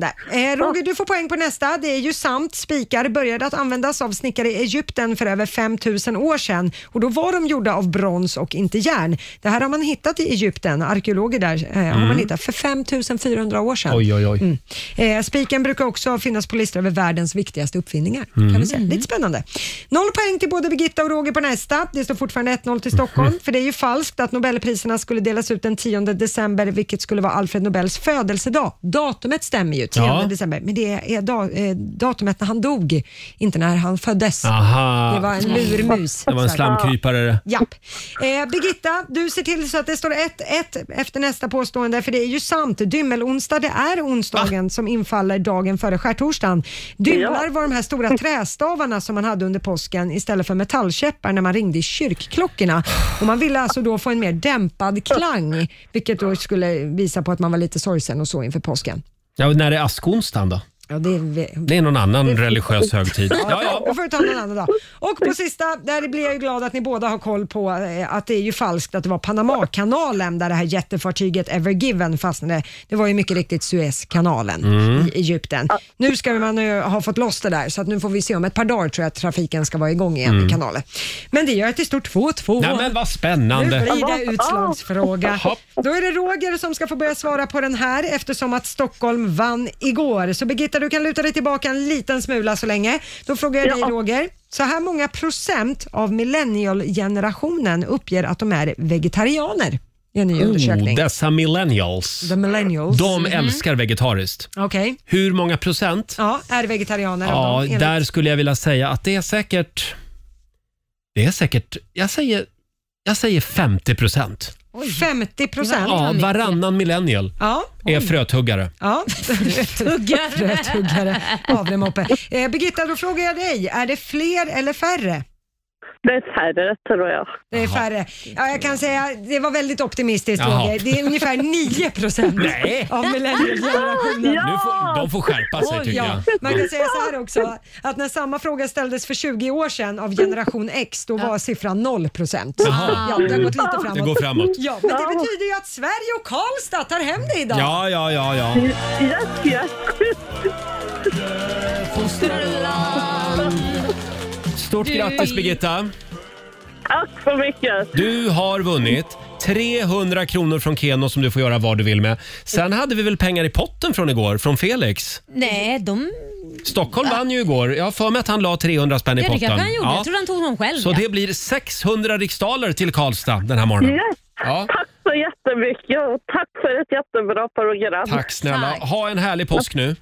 S2: där. Eh, Roger, du får poäng på nästa. Det är ju sant. Spikar började att användas av snickare i Egypten för över 5000 år sedan och då var de gjorda av brons och inte järn. Det här har man hittat i Egypten. Arkeologer där eh, har man
S18: Mm.
S2: hittat för 5400 år sedan.
S18: Oj, oj, oj.
S2: Mm. Eh, spiken brukar också finnas på listor över världens viktigaste uppfinningar. Kan vi
S18: Mm.
S2: säga. Lite spännande. Noll poäng till både Birgitta och Roger på nästa. Det står fortfarande 1-0 till
S1: Mhm.
S2: Stockholm, för det är ju falskt att Nobelpriserna skulle delas ut den 10 december, vilket skulle vara Alfred Nobels födelsedag. Datumet stämmer ju, 10
S18: Ja.
S2: december, men det är da, eh, datumet när han dog, inte när han föddes.
S1: Aha.
S2: Det var en lurmus.
S1: Det var en slamkrypare.
S2: Japp. Eh, Birgitta, du ser till så att det står 1-1 efter nästa påstående, för det är ju sant. Dymmelonsdag, det är onsdagen som infaller dagen före skärtorsdagen. Dymlar
S18: Ja.
S2: var de här stora trästavarna som man hade under påsken istället för metallkäppar när man ringde i kyrkklockorna. Och man ville alltså då få en mer dämpad klang, vilket då skulle visa på att man var lite sorgsen och så inför påsken.
S1: Ja, och när är askonsdagen då?
S2: Ja, det är...
S1: Det är någon annan religiös högtid. Ja, ja.
S2: Då får du ta någon annan dag. Och på sista, där blir jag ju glad att ni båda har koll på eh, att det är ju falskt att det var Panamakanalen där det här jättefartyget Ever Given fastnade. Det var ju mycket riktigt Suezkanalen
S18: Mm.
S2: i Egypten. Nu ska man ju ha fått loss det där så att nu får vi se om ett par dagar tror jag att trafiken ska vara igång igen
S1: Mm.
S2: i kanalen. Men det gör att det står 2-2.
S1: Nej, men vad
S2: Nu
S1: spännande.
S2: blir det utslagsfråga.
S1: Hopp.
S2: Då är det Roger som ska få börja svara på den här eftersom att Stockholm vann igår. Så Birgitta, Du kan luta dig tillbaka en liten smula så länge. Då frågar jag
S18: Ja.
S2: dig Roger, så här många procent av millennial-generationen uppger att de är vegetarianer? I en ny
S1: Oh,
S2: undersökning.
S1: dessa millennials.
S2: The millennials.
S1: De
S2: Mhm.
S1: älskar vegetariskt.
S2: Okej.
S1: Hur många procent?
S2: Ja, är vegetarianer av
S1: Ja,
S2: dem, enligt-
S1: där skulle jag vilja säga att det är säkert... Det är säkert... Jag säger, jag säger 50 procent.
S2: 50 procent.
S1: Ja, varannan millennial
S2: Ja,
S1: är frötuggare.
S2: Ja,
S4: Tuggare.
S2: Rödtuggare. Avle moppe. Eh, Birgitta, då frågar jag dig, är det fler eller färre?
S21: Det är färre tror jag.
S2: Det är färre. Ja, jag kan säga, det var väldigt optimistiskt
S1: Jaha.
S2: Roger. Det är ungefär 9 procent
S1: Nej.
S2: av millennialgenerationen.
S1: Nu får, de får skärpa sig
S2: Oj,
S1: tycker
S2: ja.
S1: jag.
S2: Man kan säga så här också, att när samma fråga ställdes för 20 år sedan av generation X, då var siffran 0 procent.
S1: Jaha.
S2: Ja, det har gått lite
S1: Det
S2: framåt.
S1: går framåt.
S2: Ja, men det betyder ju att Sverige och Karlstad tar hem det idag.
S1: Ja, ja, ja, ja.
S2: Yes, yes.
S1: Stort
S18: Du-
S1: grattis Birgitta.
S21: Tack så mycket.
S1: Du har vunnit 300 kronor från Keno som du får göra vad du vill med. Sen hade vi väl pengar i potten från igår, från Felix.
S4: Nej, de...
S1: Stockholm vann ju igår. Jag har för mig att han la 300 spänn i
S4: Ja, det
S1: potten.
S4: kanske han gjorde.
S1: Ja.
S4: Jag trodde han tog dem själv.
S1: Så
S4: ja.
S1: det blir 600 riksdaler till Karlstad den här morgonen.
S21: Yes.
S1: Ja.
S21: Tack så jättemycket och tack för ett jättebra program.
S1: Tack snälla. Ha en härlig påsk nu.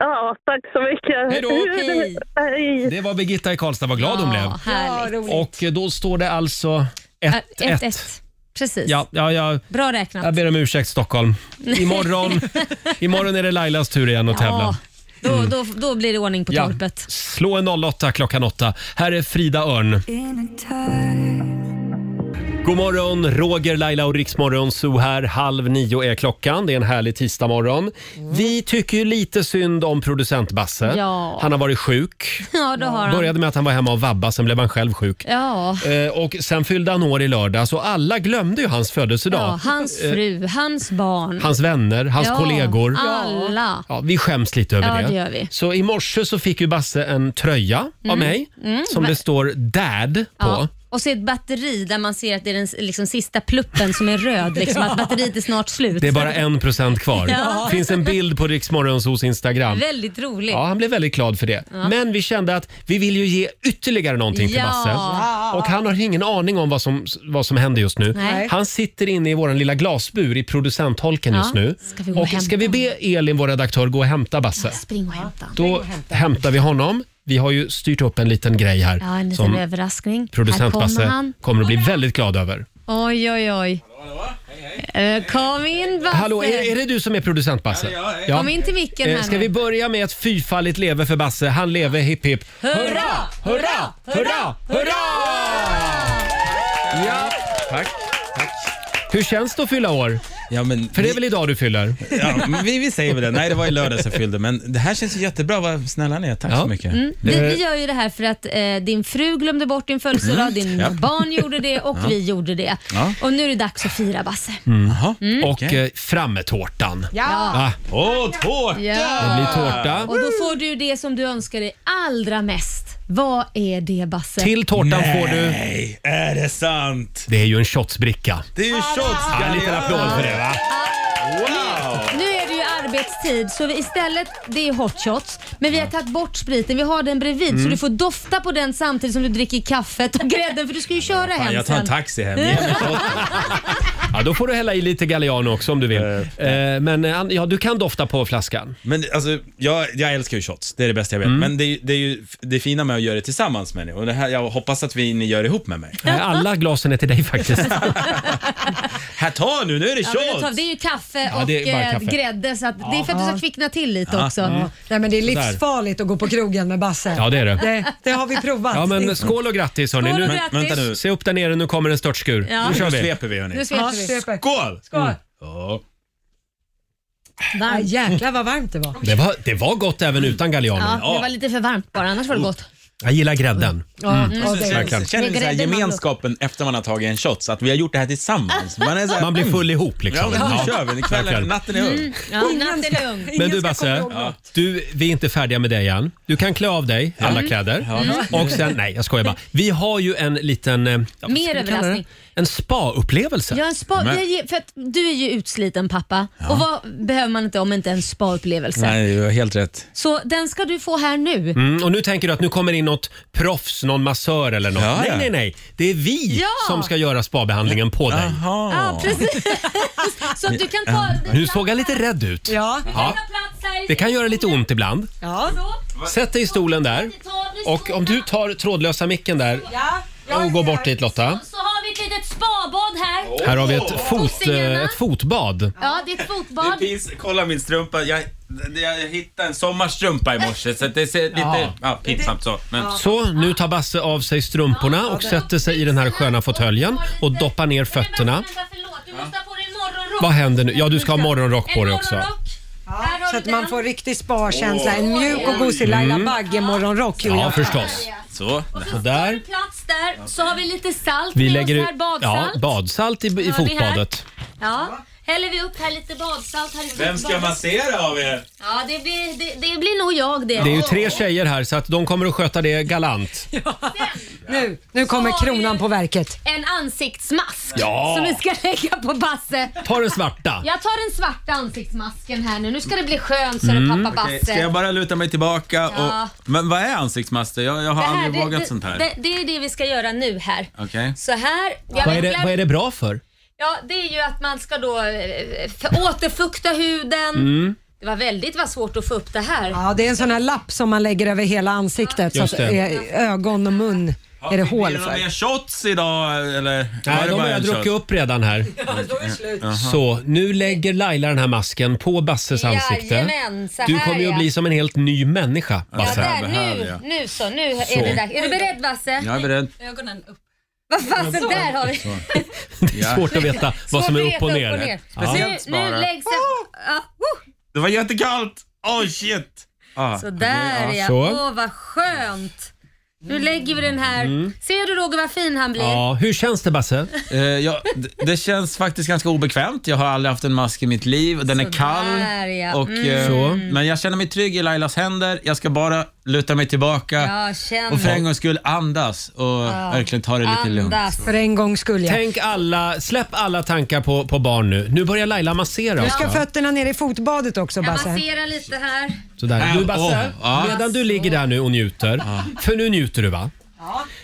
S21: Ja, tack så mycket.
S1: Hej då.
S21: Hej. Hej.
S1: Det var Birgitta i Karlstad, vad glad hon blev.
S4: Härligt.
S1: Och eh, då står det alltså
S4: Ja,
S1: 1-1.
S4: 1-1. Precis.
S1: Ja, ja, ja.
S4: Bra
S1: Jag
S4: räknat.
S1: ber om ursäkt Stockholm. Imorgon, imorgon är det Lailas tur igen att tävla.
S4: Ja, då,
S1: Mm.
S4: då, då blir det ordning på torpet.
S1: Slå en 08 klockan 8. Här är Frida Örn. God morgon, Roger, Laila och Riksmorgon Zoo här. Halv nio är klockan. Det är en härlig tisdagmorgon. Vi tycker ju lite synd om producent Basse.
S4: Ja.
S1: Han har varit sjuk.
S4: Ja, då har han.
S1: Började med att han var hemma och vabba, sen blev han själv sjuk.
S4: Ja.
S1: Eh, och sen fyllde han år i lördags och alla glömde ju hans födelsedag.
S4: ja, hans
S1: Eh,
S4: fru, hans barn.
S1: Hans vänner, hans
S4: Ja,
S1: kollegor.
S4: Alla.
S1: Ja, vi skäms lite över
S4: Ja,
S1: det.
S4: det gör vi.
S1: Så i morse så fick ju Basse en tröja av
S4: Mm.
S1: mig
S4: Mm.
S1: som det står “Dad” på.
S4: Ja. Och så ett batteri där man ser att det är den liksom, sista pluppen som är röd. Liksom,
S1: Ja.
S4: Att batteriet är snart slut.
S1: Det är bara en procent kvar.
S4: Ja.
S1: finns en bild på Riksmorgonsos Instagram.
S4: Väldigt roligt.
S1: Ja, han blev väldigt glad för det.
S4: Ja.
S1: Men vi kände att vi vill ju ge ytterligare någonting till
S4: Ja.
S1: Basse. Och han har ingen aning om vad som, vad som händer just nu.
S4: Nej.
S1: Han sitter inne i vår lilla glasbur i producentholken
S4: Ja.
S1: just nu.
S4: Ska vi gå och
S1: och ska vi be Elin, vår redaktör, gå och hämta Basse?
S4: Spring och hämta.
S1: Då hämtar vi honom. Vi har ju styrt upp en liten grej här
S4: Ja, en liten
S1: som
S4: överraskning. Här
S1: producent
S4: kommer
S1: Basse
S4: han.
S1: kommer att bli väldigt glad över.
S4: Oj, oj, oj. Eh, Kom in Basse.
S1: Hallå, är, är det du som är producent Basse? Ja,
S4: Kom in till micken
S1: Eh,
S4: här
S1: Ska
S4: nu.
S1: vi börja med ett fyrfaldigt leve för Basse? Han leve hipp hipp.
S4: Hurra, hurra,
S1: hurra, Ja, tack. tack. Hur känns det att fylla år?
S6: Ja, men
S1: För det är väl idag du fyller?
S6: Ja, men vi, vi säger väl det. Nej, det var i lördags jag fyllde, men det här känns ju jättebra. Vad snälla ni är. Tack så mycket.
S1: Eh.
S4: Mm. Vi, vi gör ju det här för att eh, din fru glömde bort din födelsedag,
S6: Mm.
S4: din
S6: Ja.
S4: barn gjorde det och
S1: Ja.
S4: vi gjorde det.
S1: Ja.
S4: Och nu är det dags att fira Basse.
S1: Mm. Och eh, fram med tårtan.
S4: Ja.
S1: Va? Åh, tårta! Det blir tårta.
S4: Och då får du det som du önskar dig allra mest. Vad är det Basse?
S1: Till tårtan får du...
S6: Nej, är det sant?
S1: Det är ju en shotsbricka.
S6: Det är ju shots!
S1: Ja, en liten applåd för det va?
S4: Nu är det ju arbetstid så vi istället, det är hot shots, men vi har tagit bort spriten. Vi har den bredvid så
S6: Mm.
S4: du får dofta på den samtidigt som du dricker kaffet och grädden för du ska ju köra hem
S6: Fan, jag tar en
S4: sen.
S6: taxi hem. Ge mig
S1: Ja, då får du hälla i lite Galliano också om du vill. Eh, men eh, an- ja, du kan dofta på flaskan.
S6: Men alltså, jag, jag älskar ju shots, det är det bästa jag vet.
S1: Mm.
S6: Men det, är ju- det är ju det fina med att göra det tillsammans med er. Och det här, jag hoppas att vi, ni gör det ihop med mig.
S1: Nej, Eh, alla glasen är till dig faktiskt.
S6: här, ta nu, nu är det
S4: Ja, men det tar-
S6: shots!
S4: det är ju kaffe
S1: Ja,
S4: och
S1: det är bara
S4: eh,
S1: kaffe.
S4: grädde så att det är för att du ska kvickna till lite
S1: Ja.
S4: också.
S1: Mm.
S2: Nej, men det är
S1: Sådär.
S2: livsfarligt att gå på krogen med Basse.
S1: Ja, det är det.
S2: Det, det har vi provat.
S1: Ja, men skål och grattis hörni.
S2: Skål och
S1: Nu,
S2: grattis. Men- vänta nu.
S1: Se upp där nere, nu kommer en störtskur.
S4: Ja.
S1: Nu kör
S4: Nu
S1: vi.
S6: sveper vi, hörni.
S4: Nu sveper vi.
S2: Skål! Skål.
S6: Ja.
S2: Ah,
S4: Varmt.
S2: jäklar vad varmt det var.
S1: Det var, det var gott även utan Galliano.
S4: Ja, det var lite för varmt bara, annars var det gott.
S1: Jag gillar grädden.
S4: Ja, Mm. ja, det är-
S6: Verkligen.
S4: det är
S6: Känner ni så här
S4: grädden man-
S6: gemenskapen efter man har tagit en shot, så att vi har gjort det här tillsammans. Man, är så här, mm.
S1: Man blir full ihop
S6: Ja,
S1: liksom.
S6: men nu
S1: Ja.
S6: kör vi. Kvällen,
S1: Verkligen.
S6: natten är ung.
S4: Mm, ja, natten är ung.
S1: Men du Basse, du, vi är inte färdiga med dig än. Du kan klä av dig alla
S4: Mm.
S1: kläder.
S4: Ja. Mm.
S1: Och sen, nej jag skojar bara. Vi har ju en liten... eh, ja, vad
S4: Mer
S1: ska vi kalla det?
S4: överraskning.
S1: En spa-upplevelse.
S4: Jag är en spa,
S1: Men-
S4: jag ger- för att du är ju utsliten pappa
S1: Ja.
S4: och vad behöver man inte om inte en spa-upplevelse?
S6: Nej, du har helt rätt.
S4: Så den ska du få här nu.
S1: Mm, och nu tänker du att nu kommer in något proffs, någon massör eller något.
S6: Ja,
S1: nej,
S6: ja.
S1: nej, nej. Det är vi
S4: Ja.
S1: som ska göra spabehandlingen på dig.
S4: Ja, precis. Så att du kan ta...
S1: Nu Eh, såg jag lite rädd ut.
S4: Ja.
S1: Ja. Det kan göra lite ont ibland.
S4: Ja.
S1: Sätt dig i stolen där. Och om du tar trådlösa micken där och går bort dit Lotta.
S4: Så har vi ett litet spabad här.
S1: Här har vi ett, fot, eh, ett fotbad.
S4: Ja, det är ett fotbad.
S6: Det är pins- kolla min strumpa. Jag, jag hittade en sommarstrumpa i morse så att det ser lite
S1: Ja.
S6: ja. pinsamt så. Men,
S1: Så, nu tar Basse av sig strumporna och sätter sig i den här sköna fåtöljen och doppar ner fötterna. Vad händer nu? Ja, du ska ha morgonrock på dig också.
S2: Så att man får riktig sparkänsla. En mjuk och gosig Laila
S1: Mm.
S2: Bagge-morgonrock. gjorde
S1: Ja,
S2: jag.
S1: förstås.
S6: Så.
S1: Där.
S4: Plats där. Så har vi lite salt
S1: Vi
S4: med
S1: lägger
S4: oss här, badsalt.
S1: Ja, badsalt i, i
S4: Har vi här?
S1: fotbadet.
S4: Ja, häller vi upp här lite badsalt. Här i
S6: vem ska
S4: fotbadet.
S6: massera av er?
S4: Ja, det blir, det, det blir nog jag det.
S1: Det är ju tre tjejer här så att de kommer att sköta det galant.
S2: Nu, nu kommer kronan på verket.
S4: En ansiktsmask
S1: Ja.
S4: som vi ska lägga på Basse.
S1: Ta den svarta.
S4: Jag tar den svarta ansiktsmasken här nu. Nu ska det bli skönt så
S6: Mm.
S4: det pappa
S6: Okej,
S4: Basse.
S6: Ska jag bara luta mig tillbaka och...
S4: Ja.
S6: Men vad är ansiktsmasker? Jag, jag har
S4: Det här,
S6: aldrig
S4: det-
S6: vågat
S4: det,
S6: sånt här.
S4: Det, det är det vi ska göra nu här.
S6: Okej.
S4: Så här.
S1: Vad
S4: jag
S1: är,
S4: vet-
S1: det,
S4: jag-
S1: vad är det bra för?
S4: Ja, det är ju att man ska då eh, för, återfukta huden.
S1: Mm.
S4: Det var väldigt vad svårt att få upp det här.
S2: Ja, det är en sån här lapp som man lägger över hela ansiktet så
S6: Just
S2: att
S6: det.
S2: eh, ögon och mun är det
S6: Blir
S2: hål
S6: det några
S2: för.
S6: mer shots idag eller? Var
S1: Nej,
S6: det
S1: de
S6: bara
S1: har
S6: en
S1: jag druckit
S6: shot?
S1: upp redan här. Mm. Så, nu lägger Laila den här masken på Basses ansikte.
S4: Jajamän, så
S1: Du
S4: här,
S1: kommer ju att
S4: ja.
S1: bli som en helt ny människa,
S4: Ja,
S1: Basse.
S4: där, nu, nu så, nu
S1: Så.
S4: är det dags. Är du beredd Basse?
S1: Jag är beredd.
S4: Ögonen upp. Vad fasen, där har vi.
S1: Det är svårt att veta vad som
S4: Svårt
S1: är
S4: att
S1: upp och
S4: veta
S1: ner.
S4: Nu,
S6: Speciellt
S4: nu
S6: bara.
S4: läggs det... Ja, oh,
S6: Det var jättekallt! Oh shit! Ah,
S4: så där
S6: okej,
S4: ja. Åh, vad skönt. Nu lägger vi den här.
S6: Mm.
S4: Ser du Roger vad fin han blir?
S1: hur känns det Basse?
S6: Eh, ja, d- det känns faktiskt ganska obekvämt. Jag har aldrig haft en mask i mitt liv. Den är kall.
S4: Där, ja.
S6: Och, eh,
S4: mm.
S6: Men jag känner mig trygg i Lailas händer. Jag ska bara luta mig tillbaka
S4: Ja, känn
S6: och för
S4: det.
S6: en gångs skull andas och verkligen ta det lite lugnt.
S2: För en gång skulle jag.
S1: Tänk alla, släpp alla tankar på, på barn nu. Nu börjar Laila massera.
S2: Du ska
S1: också.
S2: fötterna ner i fotbadet också
S4: Jag
S2: Basse.
S4: masserar lite här.
S1: Sådär. Du Basse,
S4: Åh, ja.
S1: medan du ligger där nu och njuter, för nu njuter du va?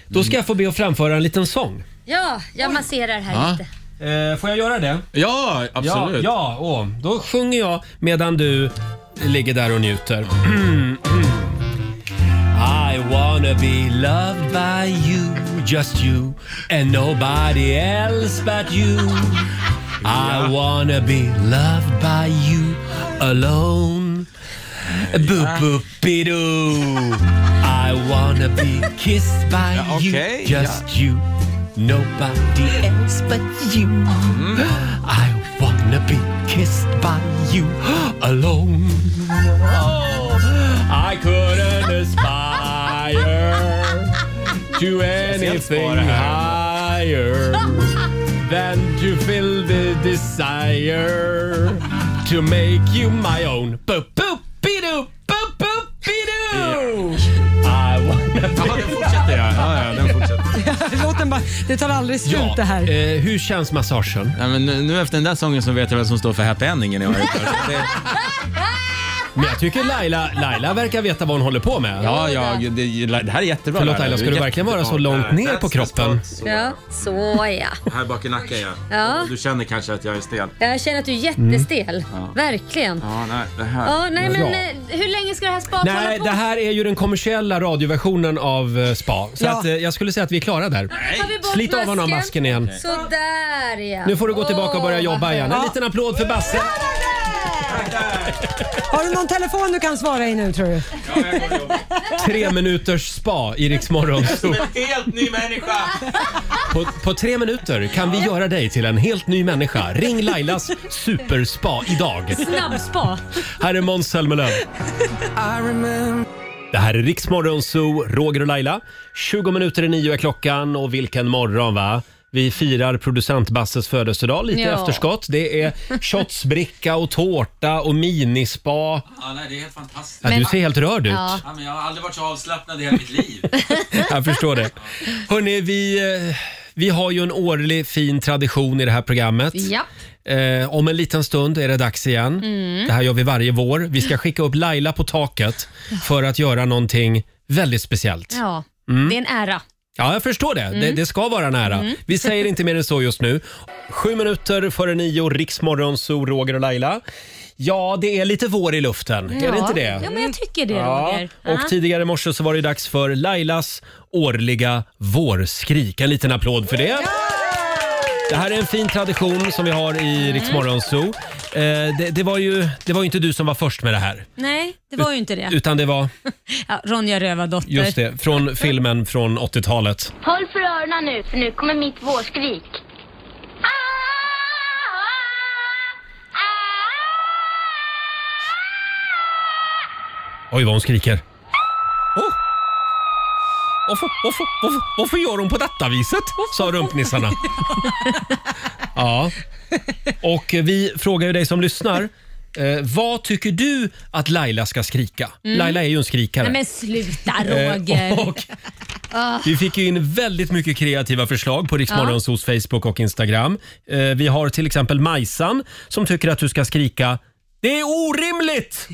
S1: Då ska jag få be att framföra en liten sång.
S4: Ja, jag masserar här lite.
S1: Eh, får jag göra det?
S6: Ja,
S1: Ja,
S6: absolut.
S1: ja åh. då sjunger jag medan du ligger där och njuter. Mm. I wanna be loved by you, just you and nobody else but you. I wanna be loved by you alone. Boop boop bidoo. I wanna be kissed by
S6: Ja, okej,
S1: you, just you, nobody else but you. I wanna be kissed by you alone. Oh. I couldn't aspire to anything higher than to fill the desire to make you my own. Boop, boop, be-doo, boop, boop, be-doo. I wanna be... Ja, den
S6: fortsätter jag. Ja, ja, den fortsätter.
S2: Låt den bara, det tar aldrig slut
S6: Ja.
S2: det här.
S1: eh, hur känns massagen?
S6: Ja, men nu, nu efter den där sången så vet jag vem som står för happy endingen i år.
S1: Men jag tycker Laila, Laila verkar veta vad hon håller på med.
S6: Ja, ja, det, det här är jättebra.
S1: Förlåt Laila, ska du verkligen vara så långt ner på kroppen?
S4: Ja, så ja.
S6: Här bak i nacken ja.
S4: Ja.
S6: Du känner kanske att jag är stel.
S4: Jag känner att du är jättestel.
S6: Ja.
S4: Verkligen.
S6: Ja, nej, det
S4: Ja,
S6: här.
S4: nej men
S1: Mm. Ja.
S4: eh, hur länge ska det här spat hålla
S1: Nej,
S4: på?
S1: det här är ju den kommersiella radioversionen av eh, spa. Så
S4: Ja.
S1: att, eh, jag skulle säga att vi är klara där.
S4: Tar vi bort
S1: Slit av honom masken igen.
S4: Sådär ja.
S1: Nu får du gå tillbaka och börja
S4: Åh,
S1: jobba
S4: vad
S1: igen. En
S4: skönt.
S1: liten applåd för Basse.
S2: Har du någon telefon du kan svara i nu tror du?
S1: Tre minuters spa i Rix Morgon Zoo.
S6: Helt ny människa!
S1: På, på tre minuter kan vi göra dig till en helt ny människa. Ring Lailas superspa idag.
S4: Snabbspa.
S1: Här är Måns Zelmerlöw. Det här är Riksmorgon Zoo, Roger och Laila. 20 minuter i nio är klockan och vilken morgon va? Vi firar producent Basses födelsedag lite i
S22: Ja.
S1: efterskott. Det är shotsbricka och tårta och minispa.
S22: Ja, nej, det är helt fantastiskt.
S1: Ja, du ser helt rörd ut.
S22: Ja. men jag har aldrig varit så avslappnad i hela mitt liv.
S1: Jag förstår det. Hörrni, vi, eh, vi har ju en årlig fin tradition i det här programmet.
S23: Ja.
S1: Eh, om en liten stund är det dags igen.
S23: Mm.
S1: Det här gör vi varje vår. Vi ska skicka upp Laila på taket för att göra någonting väldigt speciellt.
S4: Ja,
S1: Mm.
S4: det är en ära.
S1: Ja, jag förstår det. Det, det ska vara nära.
S4: Mm.
S1: Vi säger inte mer än så just nu. Sju minuter före nio, Riksmorgon, så Roger och Laila. Ja, det är lite vår i luften. Är det
S4: Ja.
S1: inte det?
S4: Ja, men jag tycker det Roger.
S1: Och
S4: Ja.
S1: tidigare i morse så var det dags för Lailas årliga vårskrik. En liten applåd för det. Det här är en fin tradition som vi har
S4: Mm.
S1: i Rix Morgon Zoo. Eh, det, det, var ju, det var ju inte du som var först med det här.
S4: Nej, det var ju inte det.
S1: Utan det var,
S4: Ja, Ronja Rövardotter.
S1: just det, från filmen från 80-talet.
S9: Håll för öronen nu, för nu kommer mitt vårskrik.
S1: Oj, vad hon skriker. Oh. Varför, varför, varför, varför gör hon på detta viset? Sa rumpnissarna. Ja. Och vi frågar ju dig som lyssnar. Eh, vad tycker du att Laila ska skrika?
S4: Mm.
S1: Laila är ju en
S4: Nej
S1: skrikare.
S4: men sluta
S1: Eh,
S4: Roger.
S1: och-
S4: Ah.
S1: Vi fick ju in väldigt mycket kreativa förslag på
S4: Ja.
S1: Riksmorgons hos Facebook och Instagram. Eh, vi har till exempel Majsan som tycker att du ska skrika “Det är orimligt!”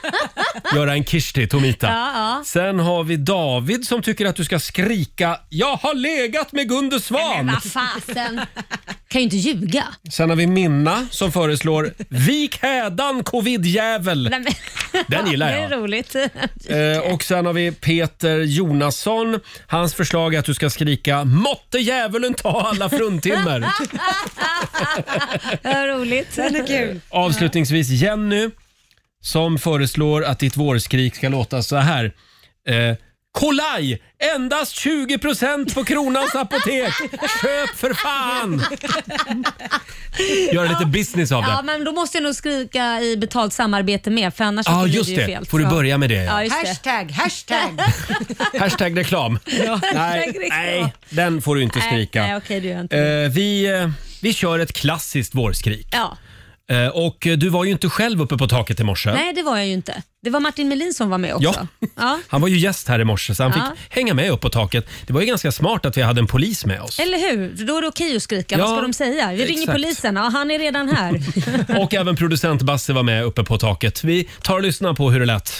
S1: Göra en Kishti Tomita.
S23: Ja, ja.
S1: Sen har vi David som tycker att du ska skrika “Jag har legat med Gunde Svan!”
S4: Men vad fasen. Kan ju inte ljuga.
S1: Sen har vi Minna som föreslår “Vik hädan covidjävel!”
S4: Nej, men...
S1: Den gillar
S4: Det
S1: jag.
S4: är roligt.
S1: Eh, och sen har vi Peter Jonasson. Hans förslag är att du ska skrika “Måtte djävulen ta alla fruntimmer!”
S4: Vad roligt.
S2: Den är kul.
S1: Avslutningsvis Jenny som föreslår att ditt vårskrik ska låta så här. Eh, Kolaj! Endast 20% på Kronans apotek! Köp för fan! Gör lite business av
S4: Ja,
S1: det.
S4: men då måste jag nog skrika i betalt samarbete med för annars
S1: Ja,
S4: så blir
S1: just
S4: ju
S1: det.
S4: fel.
S1: Får du
S4: Ja.
S1: börja med det, ja.
S4: Ja, just
S2: Hashtag, hashtag.
S1: Hashtag reklam. Nej,
S4: Hashtag reklam.
S1: nej, den får du inte skrika.
S4: Nej, okej, det gör jag inte.
S1: Eh, vi, eh, vi kör ett klassiskt vårskrik.
S4: Ja.
S1: Eh, och eh, du var ju inte själv uppe på taket i morse.
S4: Nej, det var jag ju inte. Det var Martin Melin som var med också.
S1: Ja.
S4: Ja.
S1: Han var ju gäst här i morse så han
S4: Ja.
S1: fick hänga med upp på taket. Det var ju ganska smart att vi hade en polis med oss.
S4: Eller hur? För Då är det okej att skrika. Vad
S1: Ja,
S4: ska de säga? Vi ringer
S1: exakt.
S4: polisen. Ja, han är redan här.
S1: Och även producent Basse var med uppe på taket. Vi tar och lyssnar på hur det lät.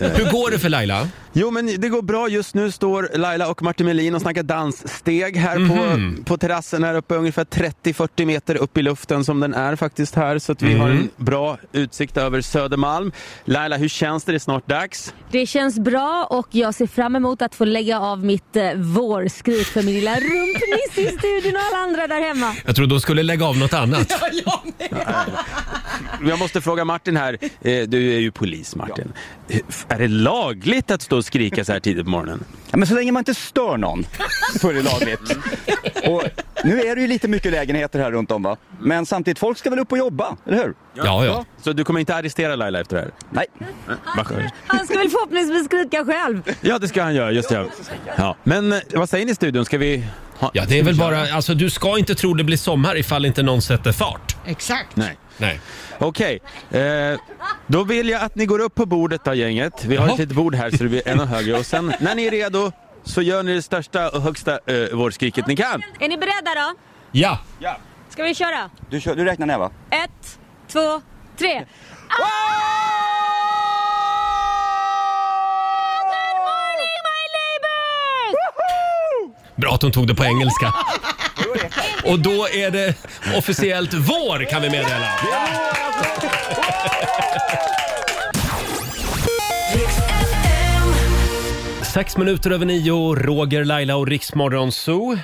S1: Hur går det för Laila?
S6: Jo, men det går bra. Just nu står Laila och Martin Melin och snackar danssteg här
S1: Mhm.
S6: på, på terrassen här uppe, ungefär 30-40 meter upp i luften som den är faktiskt här. Så att vi har
S1: Mhm.
S6: en bra utsikt över Södermalm. Laila, hur känns det? Det är snart dags.
S24: Det känns bra och jag ser fram emot att få lägga av mitt eh, vårskrik för min lilla rumpnisse i studion och alla andra där hemma.
S1: Jag trodde hon skulle lägga av något annat.
S6: Jag måste fråga Martin här. Eh, Du är ju polis, Martin. Eh, Är det lagligt att stå och skrika så här tidigt på morgonen?
S11: Ja, men så länge man inte stör någon så är det lagligt. Och nu är det ju lite mycket lägenheter här runt om va? Men samtidigt, folk ska väl upp och jobba, eller hur?
S1: Ja, ja.
S6: Så du kommer inte arrestera Laila efter det här? Eh,
S11: Nej.
S6: Vad skönt.
S24: Han ska väl förhoppningsvis skrika själv.
S6: Ja, det ska han göra. Just det. Ja. Men eh, vad säger ni i studion? Ska vi... Ha...
S1: Ja, det är väl bara, alltså du ska inte tro det blir sommar ifall inte någon sätter fart.
S2: Exakt.
S6: Nej.
S1: Nej.
S6: Okej, eh, då vill jag att ni går upp på bordet då gänget. Vi har ett litet bord här så det blir ännu högre. Och sen när ni är redo så gör ni det största och högsta eh, vårskriket ni kan.
S24: Är ni beredda då?
S1: Ja!
S24: Ska vi köra?
S11: Du, kör, du räknar ner va?
S24: Ett, två, tre.
S1: Bra att hon tog det på engelska. Och då är det officiellt vår kan vi meddela. Sex minuter över nio, Roger, Laila och Riksmorgon Zoo.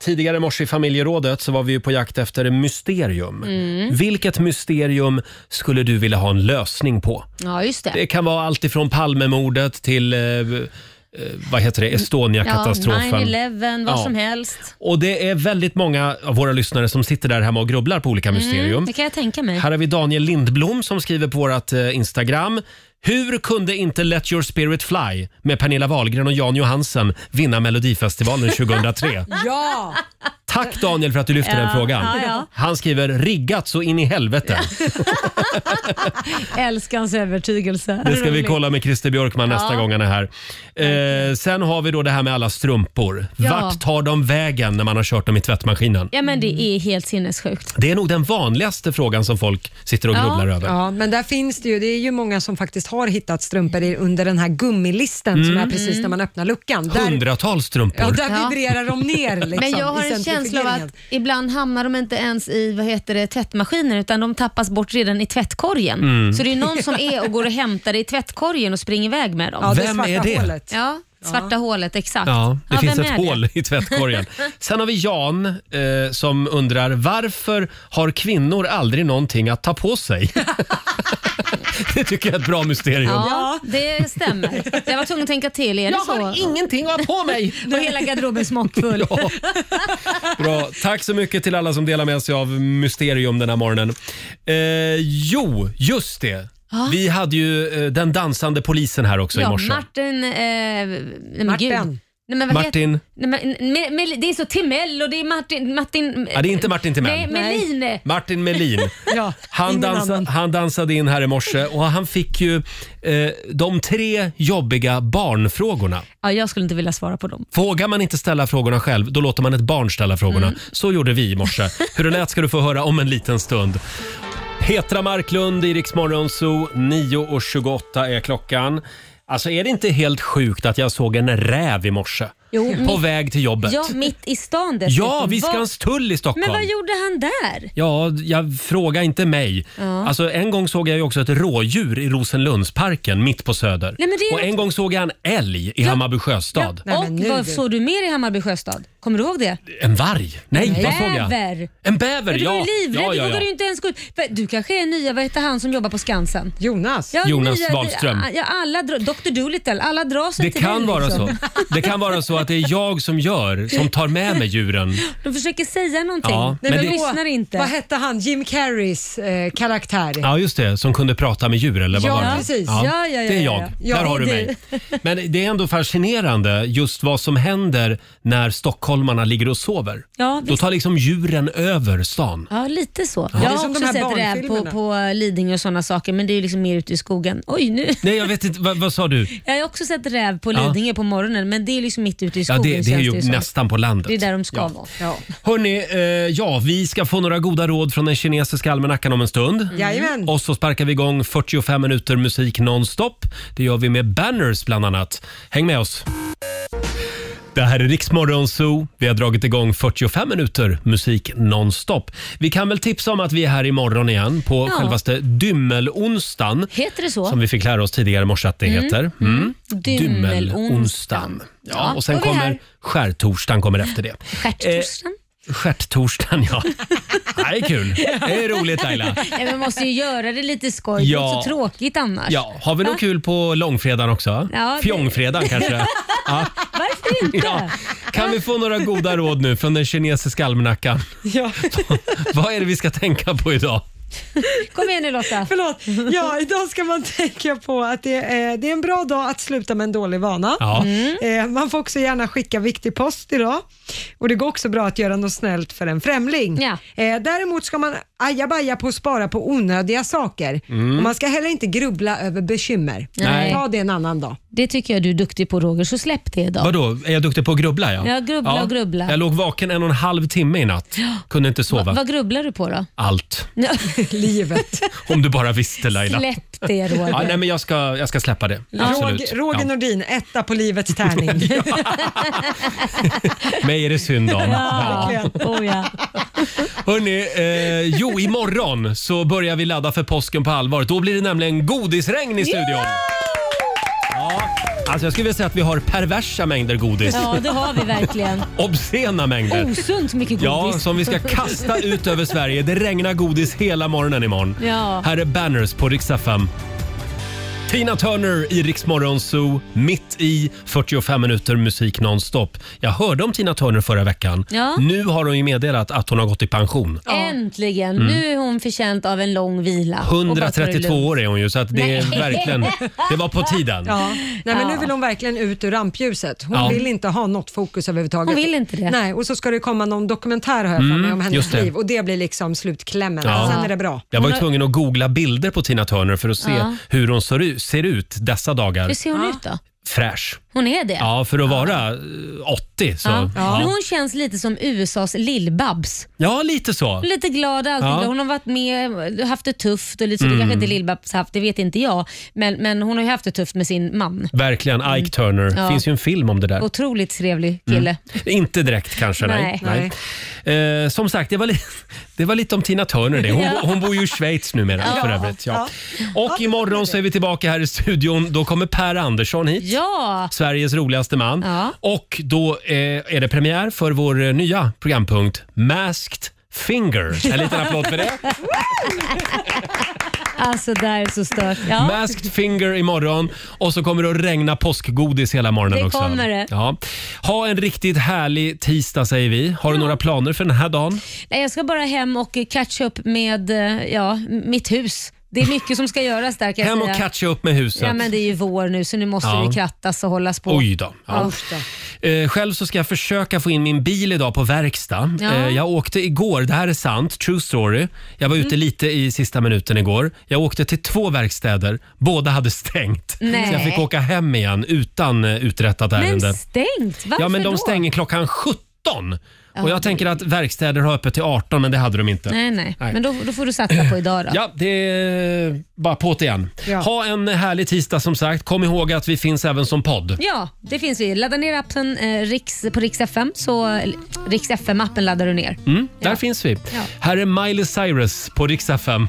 S1: Tidigare i morse i familjerådet så var vi ju på jakt efter mysterium.
S4: Mm.
S1: Vilket mysterium skulle du vilja ha en lösning på?
S4: Ja, just det.
S1: Det kan vara allt ifrån Palmemordet till eh, eh, vad heter det?
S4: Ja,
S1: Estonia-katastrofen.
S4: 9-11, vad
S1: Ja.
S4: som helst.
S1: Och det är väldigt många av våra lyssnare som sitter där hemma och
S4: Mm,
S1: grubblar på olika mysterium.
S4: det kan jag tänka mig.
S1: Här har vi Daniel Lindblom som skriver på vårt eh, Instagram. Hur kunde inte Let Your Spirit Fly med Pernilla Wahlgren och Jan Johansen vinna Melodifestivalen 2003?
S8: Ja!
S1: Tack Daniel för att du lyfte den
S6: Ja,
S1: frågan.
S6: ja, ja.
S1: Han skriver riggat så in i helvete.
S6: Älskar hans övertygelse.
S1: Det ska vi kolla med Christer Björkman nästa
S6: Ja.
S1: gång han är här. Eh, sen har vi då det här med alla strumpor.
S6: Ja.
S1: Vart tar de vägen när man har kört dem i tvättmaskinen?
S6: Ja men det är helt sinnessjukt.
S1: Det är nog den vanligaste frågan som folk sitter och grubblar över.
S2: Ja, men där finns det ju. Det är ju många som faktiskt har hittat strumpor i- under den här gummilisten som
S1: Mm.
S2: är precis när man öppnar luckan. Där,
S1: Hundratals strumpor.
S2: ja, där vibrerar de ner liksom,
S4: Men jag har
S2: i
S4: en känsla av
S2: centrifugeringen.
S4: att ibland hamnar de inte ens i vad heter det, tvättmaskiner utan de tappas bort redan i tvättkorgen.
S1: Mm.
S4: Så det är någon som är och går och hämtar det i tvättkorgen och springer iväg med dem.
S1: Ja, det Vem svarta är det? hålet.
S4: Ja, svarta hålet, exakt.
S1: Ja, det finns
S4: vem
S1: ett
S4: är det?
S1: hål i tvättkorgen. Sen har vi Jan eh, som undrar varför har kvinnor aldrig någonting att ta på sig? det tycker jag är ett bra mysterium.
S4: Ja, det stämmer. Jag var tvungen att tänka till. Är det
S8: Jag
S4: så?
S8: har
S1: ingenting att ha på mig.
S4: och hela garderoben smockfull.
S1: Bra. Tack så mycket till alla som delar med sig av mysterium den här morgonen. Eh, jo, just det.
S4: Ja.
S1: Vi hade ju eh, den dansande polisen här också i
S4: Ja,
S1: morse.
S4: Martin... Eh, nej, men gud.
S1: Martin.
S4: Nej, men vad
S1: Martin.
S4: heter- Nej, men, me, me, det är så Timell och det är Martin... Martin
S1: Ja, det är inte Martin Timell.
S4: Nej, Melin.
S1: Martin Melin. han,
S4: ingen
S1: dansa,
S4: annan.
S1: han dansade in här i morse och han fick ju eh, de tre jobbiga barnfrågorna.
S4: Ja, jag skulle inte vilja svara på dem.
S1: Vågar man inte ställa frågorna själv, då låter man ett barn ställa frågorna.
S4: Mm.
S1: Så gjorde vi i morse. Hur det lät ska du få höra om en liten stund. Petra Marklund i Rix Morgon Zoo, 9.28 är klockan. Alltså är det inte helt sjukt att jag såg en räv i morse?
S4: Jo,
S1: på
S4: mitt-
S1: väg till jobbet.
S4: Ja, mitt i stan dessutom.
S1: Ja, Viskanstull i Stockholm.
S4: Men vad gjorde han där?
S1: Ja, jag frågar inte mig.
S4: Ja.
S1: Alltså, en gång såg jag ju också ett rådjur i Rosenlundsparken mitt på Söder.
S4: Nej, men det är
S1: Och
S4: något-
S1: en gång såg jag en älg i Hammarby sjöstad.
S4: och vad såg du mer i Hammarby sjöstad? Kommer du ihåg det?
S1: En varg? Nej, vad såg jag?
S4: Bäver.
S1: En bäver,
S4: Du var
S1: ja.
S4: ju livrädd,
S1: ja,
S4: du
S1: ja,
S4: vågade ju
S1: ja.
S4: inte ens gå ut. För Du kanske är nya, vad heter han som jobbar på Skansen?
S2: Jonas.
S4: Ja,
S1: Jonas Wahlström.
S4: Ja, alla, dra- Dr Dolittle, alla drar sig
S1: Det
S4: till
S1: kan
S4: dig,
S1: vara
S4: liksom.
S1: så. Det kan vara så att det är jag som gör, som tar med mig djuren.
S4: De försöker säga någonting.
S1: Ja,
S4: Nej,
S1: men
S4: men
S1: det-
S4: de lyssnar inte.
S2: Vad hette han? Jim Carreys eh, karaktär.
S1: Ja, just det. Som kunde prata med djur eller vad
S2: Ja,
S1: var det?
S2: precis. Ja, ja, ja,
S1: det är
S2: ja,
S1: jag.
S2: ja.
S1: Där
S2: Ja,
S1: har du
S2: det-
S1: mig. Men det är ändå fascinerande just vad som händer när stockholmarna ligger och sover.
S4: Ja,
S1: Då
S4: visst.
S1: tar liksom djuren över stan.
S4: Ja, lite så.
S1: Ja.
S4: Jag
S1: Det är
S4: har
S1: som de
S4: också
S1: här
S4: sett räv på,
S1: barnfilmerna.
S4: på Lidingö och sådana saker, men det är ju liksom mer ute i skogen. Oj, nu.
S1: Nej, jag vet inte. Vad, vad sa du?
S4: Jag har också sett räv på
S1: Ja.
S4: Lidingö på morgonen, men det är liksom mitt ute i
S1: Ja,
S4: skogen.
S1: det, det är
S4: känns
S1: ju
S4: som.
S1: nästan på landet.
S4: Det är där de ska
S1: Ja.
S4: vara.
S1: Hörni, eh, ja, vi ska få några goda råd från den kinesiska almanackan om en stund.
S4: Mm.
S2: Jajamän.
S1: Och så sparkar vi igång 45 minuter musik nonstop. Det gör vi med banners bland annat. Häng med oss. Det här är Riksmorgon Zoo. Vi har dragit igång 45 minuter musik nonstop. Vi kan väl tipsa om att vi är här imorgon igen på
S4: Ja.
S1: självaste dymmelonsdagen.
S4: Heter det så?
S1: Som vi fick lära oss tidigare i morse att det
S4: Mm,
S1: heter. Mm. Dymmelonsdagen. Ja,
S4: Ja,
S1: och sen
S4: och vi är
S1: kommer
S4: här.
S1: skärtorsdagen kommer efter det.
S4: Stjärttorsdagen?
S1: Stjärttorsdagen, ja. Eh, Det här är kul. Det är roligt Laila.
S4: Nej, men man måste ju göra det lite skoj. Det
S1: Ja.
S4: är så tråkigt annars.
S1: Ja, har vi något kul på långfredagen också?
S4: Ja, det-
S1: Fjongfredagen kanske? Ja.
S4: Varför inte?
S1: Ja. Kan vi få några goda råd nu från den kinesiska almanackan?
S2: Ja.
S1: Vad är det vi ska tänka på idag?
S4: Kom igen nu Lotta.
S2: Förlåt. Ja, idag ska man tänka på att det är, det är en bra dag att sluta med en dålig vana.
S8: Ja. Mm.
S2: Eh, Man får också gärna skicka viktig post idag. Och det går också bra att göra något snällt för en främling. Eh, Däremot ska man ajabaja på att spara på onödiga saker.
S4: Mm.
S2: Och man ska heller inte grubbla över bekymmer.
S4: Nej.
S2: Ta det en annan dag.
S4: Det tycker jag du är duktig på Roger, så släpp det idag.
S1: Vadå, är jag duktig på att grubbla? Ja,
S4: Ja, grubbla och grubbla.
S1: Jag låg vaken en och en halv timme i natt.
S4: Ja.
S1: Kunde inte sova.
S4: Va- Vad grubblar du på då?
S1: Allt.
S2: Livet.
S1: Om du bara visste Laila.
S4: Släpp det Roger.
S1: Ja, nej, men jag, ska, jag ska släppa det. Absolut.
S2: Roger, Roger
S1: Ja.
S2: Nordin, etta på livets tärning.
S1: Mig är det synd om.
S4: Ja, oh ja.
S1: Hörni, eh, jo imorgon så börjar vi ladda för påsken på allvar. Då blir det nämligen godisregn i studion. Ja, alltså jag skulle vilja säga att vi har perversa mängder godis.
S4: ja, det har vi verkligen.
S1: Obscena mängder.
S4: Osunt mycket godis.
S1: Ja, som vi ska kasta ut över Sverige. Det regnar godis hela morgonen imorgon.
S4: Ja.
S1: Här är Banners på Rix FM. Tina Turner i Rix Morgon Zoo, mitt i 45 minuter musik nonstop. Jag hörde om Tina Turner förra veckan.
S4: Ja.
S1: Nu har hon ju meddelat att hon har gått i pension.
S4: Äntligen!
S1: Mm.
S4: Nu är hon förtjänt av en lång vila. Och bara ta det
S1: 132
S4: lugnt.
S1: år är hon ju, så att det är
S4: Nej.
S1: verkligen... Det var på tiden.
S2: Ja. Nej, men
S4: Ja.
S2: Nu vill hon verkligen ut ur rampljuset. Hon
S1: Ja.
S2: vill inte ha något fokus överhuvudtaget.
S4: Hon vill inte det.
S2: Nej, och så ska det komma någon dokumentär har jag för mig
S1: Mm, just
S2: om hennes
S1: det.
S2: liv och det blir liksom slutklämmen.
S4: alltså,
S1: Ja.
S2: Sen är det bra.
S1: Jag var
S2: Hon
S1: ju
S2: har-
S1: tvungen att googla bilder på Tina Turner för att se
S4: Ja.
S1: hur hon ser ut, ser ut dessa dagar.
S4: Hur ser hon ut då?
S1: Fräsch.
S4: Hon är det?
S1: Ja, för att vara eh, 80 så.
S4: Ja.
S1: Ja,
S4: Men hon känns lite som USAs Lill-Babs.
S1: Ja, lite så.
S4: Lite glad alltid.
S1: Ja.
S4: Hon har varit med, haft det tufft och lite så. Det
S1: Mm.
S4: kanske inte Lill-Babs haft, det vet inte jag. Men, men hon har ju haft det tufft med sin man.
S1: Verkligen, Ike Turner.
S4: Mm. Ja.
S1: finns ju en film om det där.
S4: Otroligt trevlig kille.
S1: Mm. Inte direkt kanske, nej.
S4: Nej.
S1: nej. Eh, som sagt, det var, li- det var lite om Tina Turner det. Hon,
S4: Ja.
S1: hon bor ju i Schweiz numera
S4: Ja.
S1: för övrigt. Ja. Och imorgon så är vi tillbaka här i studion. Då kommer Per Andersson hit.
S4: Ja!
S1: Sveriges roligaste man. Och då eh, är det premiär för vår eh, nya programpunkt Masked Finger. En liten applåd för det.
S4: Alltså det här är så stört. Ja.
S1: Masked Finger imorgon och så kommer det att regna påskgodis hela morgonen
S4: Det
S1: också.
S4: kommer det.
S1: Ja. Ha en riktigt härlig tisdag säger vi. Har du några planer för den här dagen?
S4: Nej, jag ska bara hem och catch up med eh, ja, mitt hus. Det är mycket som ska göras där kan
S1: Hem
S4: jag
S1: och
S4: säga.
S1: catcha upp med huset.
S4: Ja, men det är ju vår nu så nu måste
S1: Ja.
S4: det ju krattas och hållas på.
S1: Oj då. Ja.
S4: Usch då.
S1: Eh, själv så ska jag försöka få in min bil idag på verkstad.
S4: Ja.
S1: Eh, jag åkte igår, det här är sant, true story. Jag var ute
S4: Mm.
S1: lite i sista minuten igår. Jag åkte till två verkstäder, båda hade stängt.
S4: Nej.
S1: Så jag fick åka hem igen utan eh, uträttat ärende.
S4: Men stängt? Varför
S1: ja, men de
S4: då?
S1: stänger klockan 17. Och
S4: Ja,
S1: jag tänker att verkstäder har öppet till 18, men det hade de inte.
S4: Nej, nej. Men då, då får du satsa på idag då.
S1: Ja, det är bara på det igen.
S4: Ja.
S1: Ha en härlig tisdag som sagt. Kom ihåg att vi finns även som podd.
S4: Ja, det finns vi. Ladda ner appen eh, Riks, på Rix FM. Så eh, Rix FM-appen laddar du ner.
S1: Mm, där finns vi.
S4: Ja.
S1: Här är Miley Cyrus på Rix FM.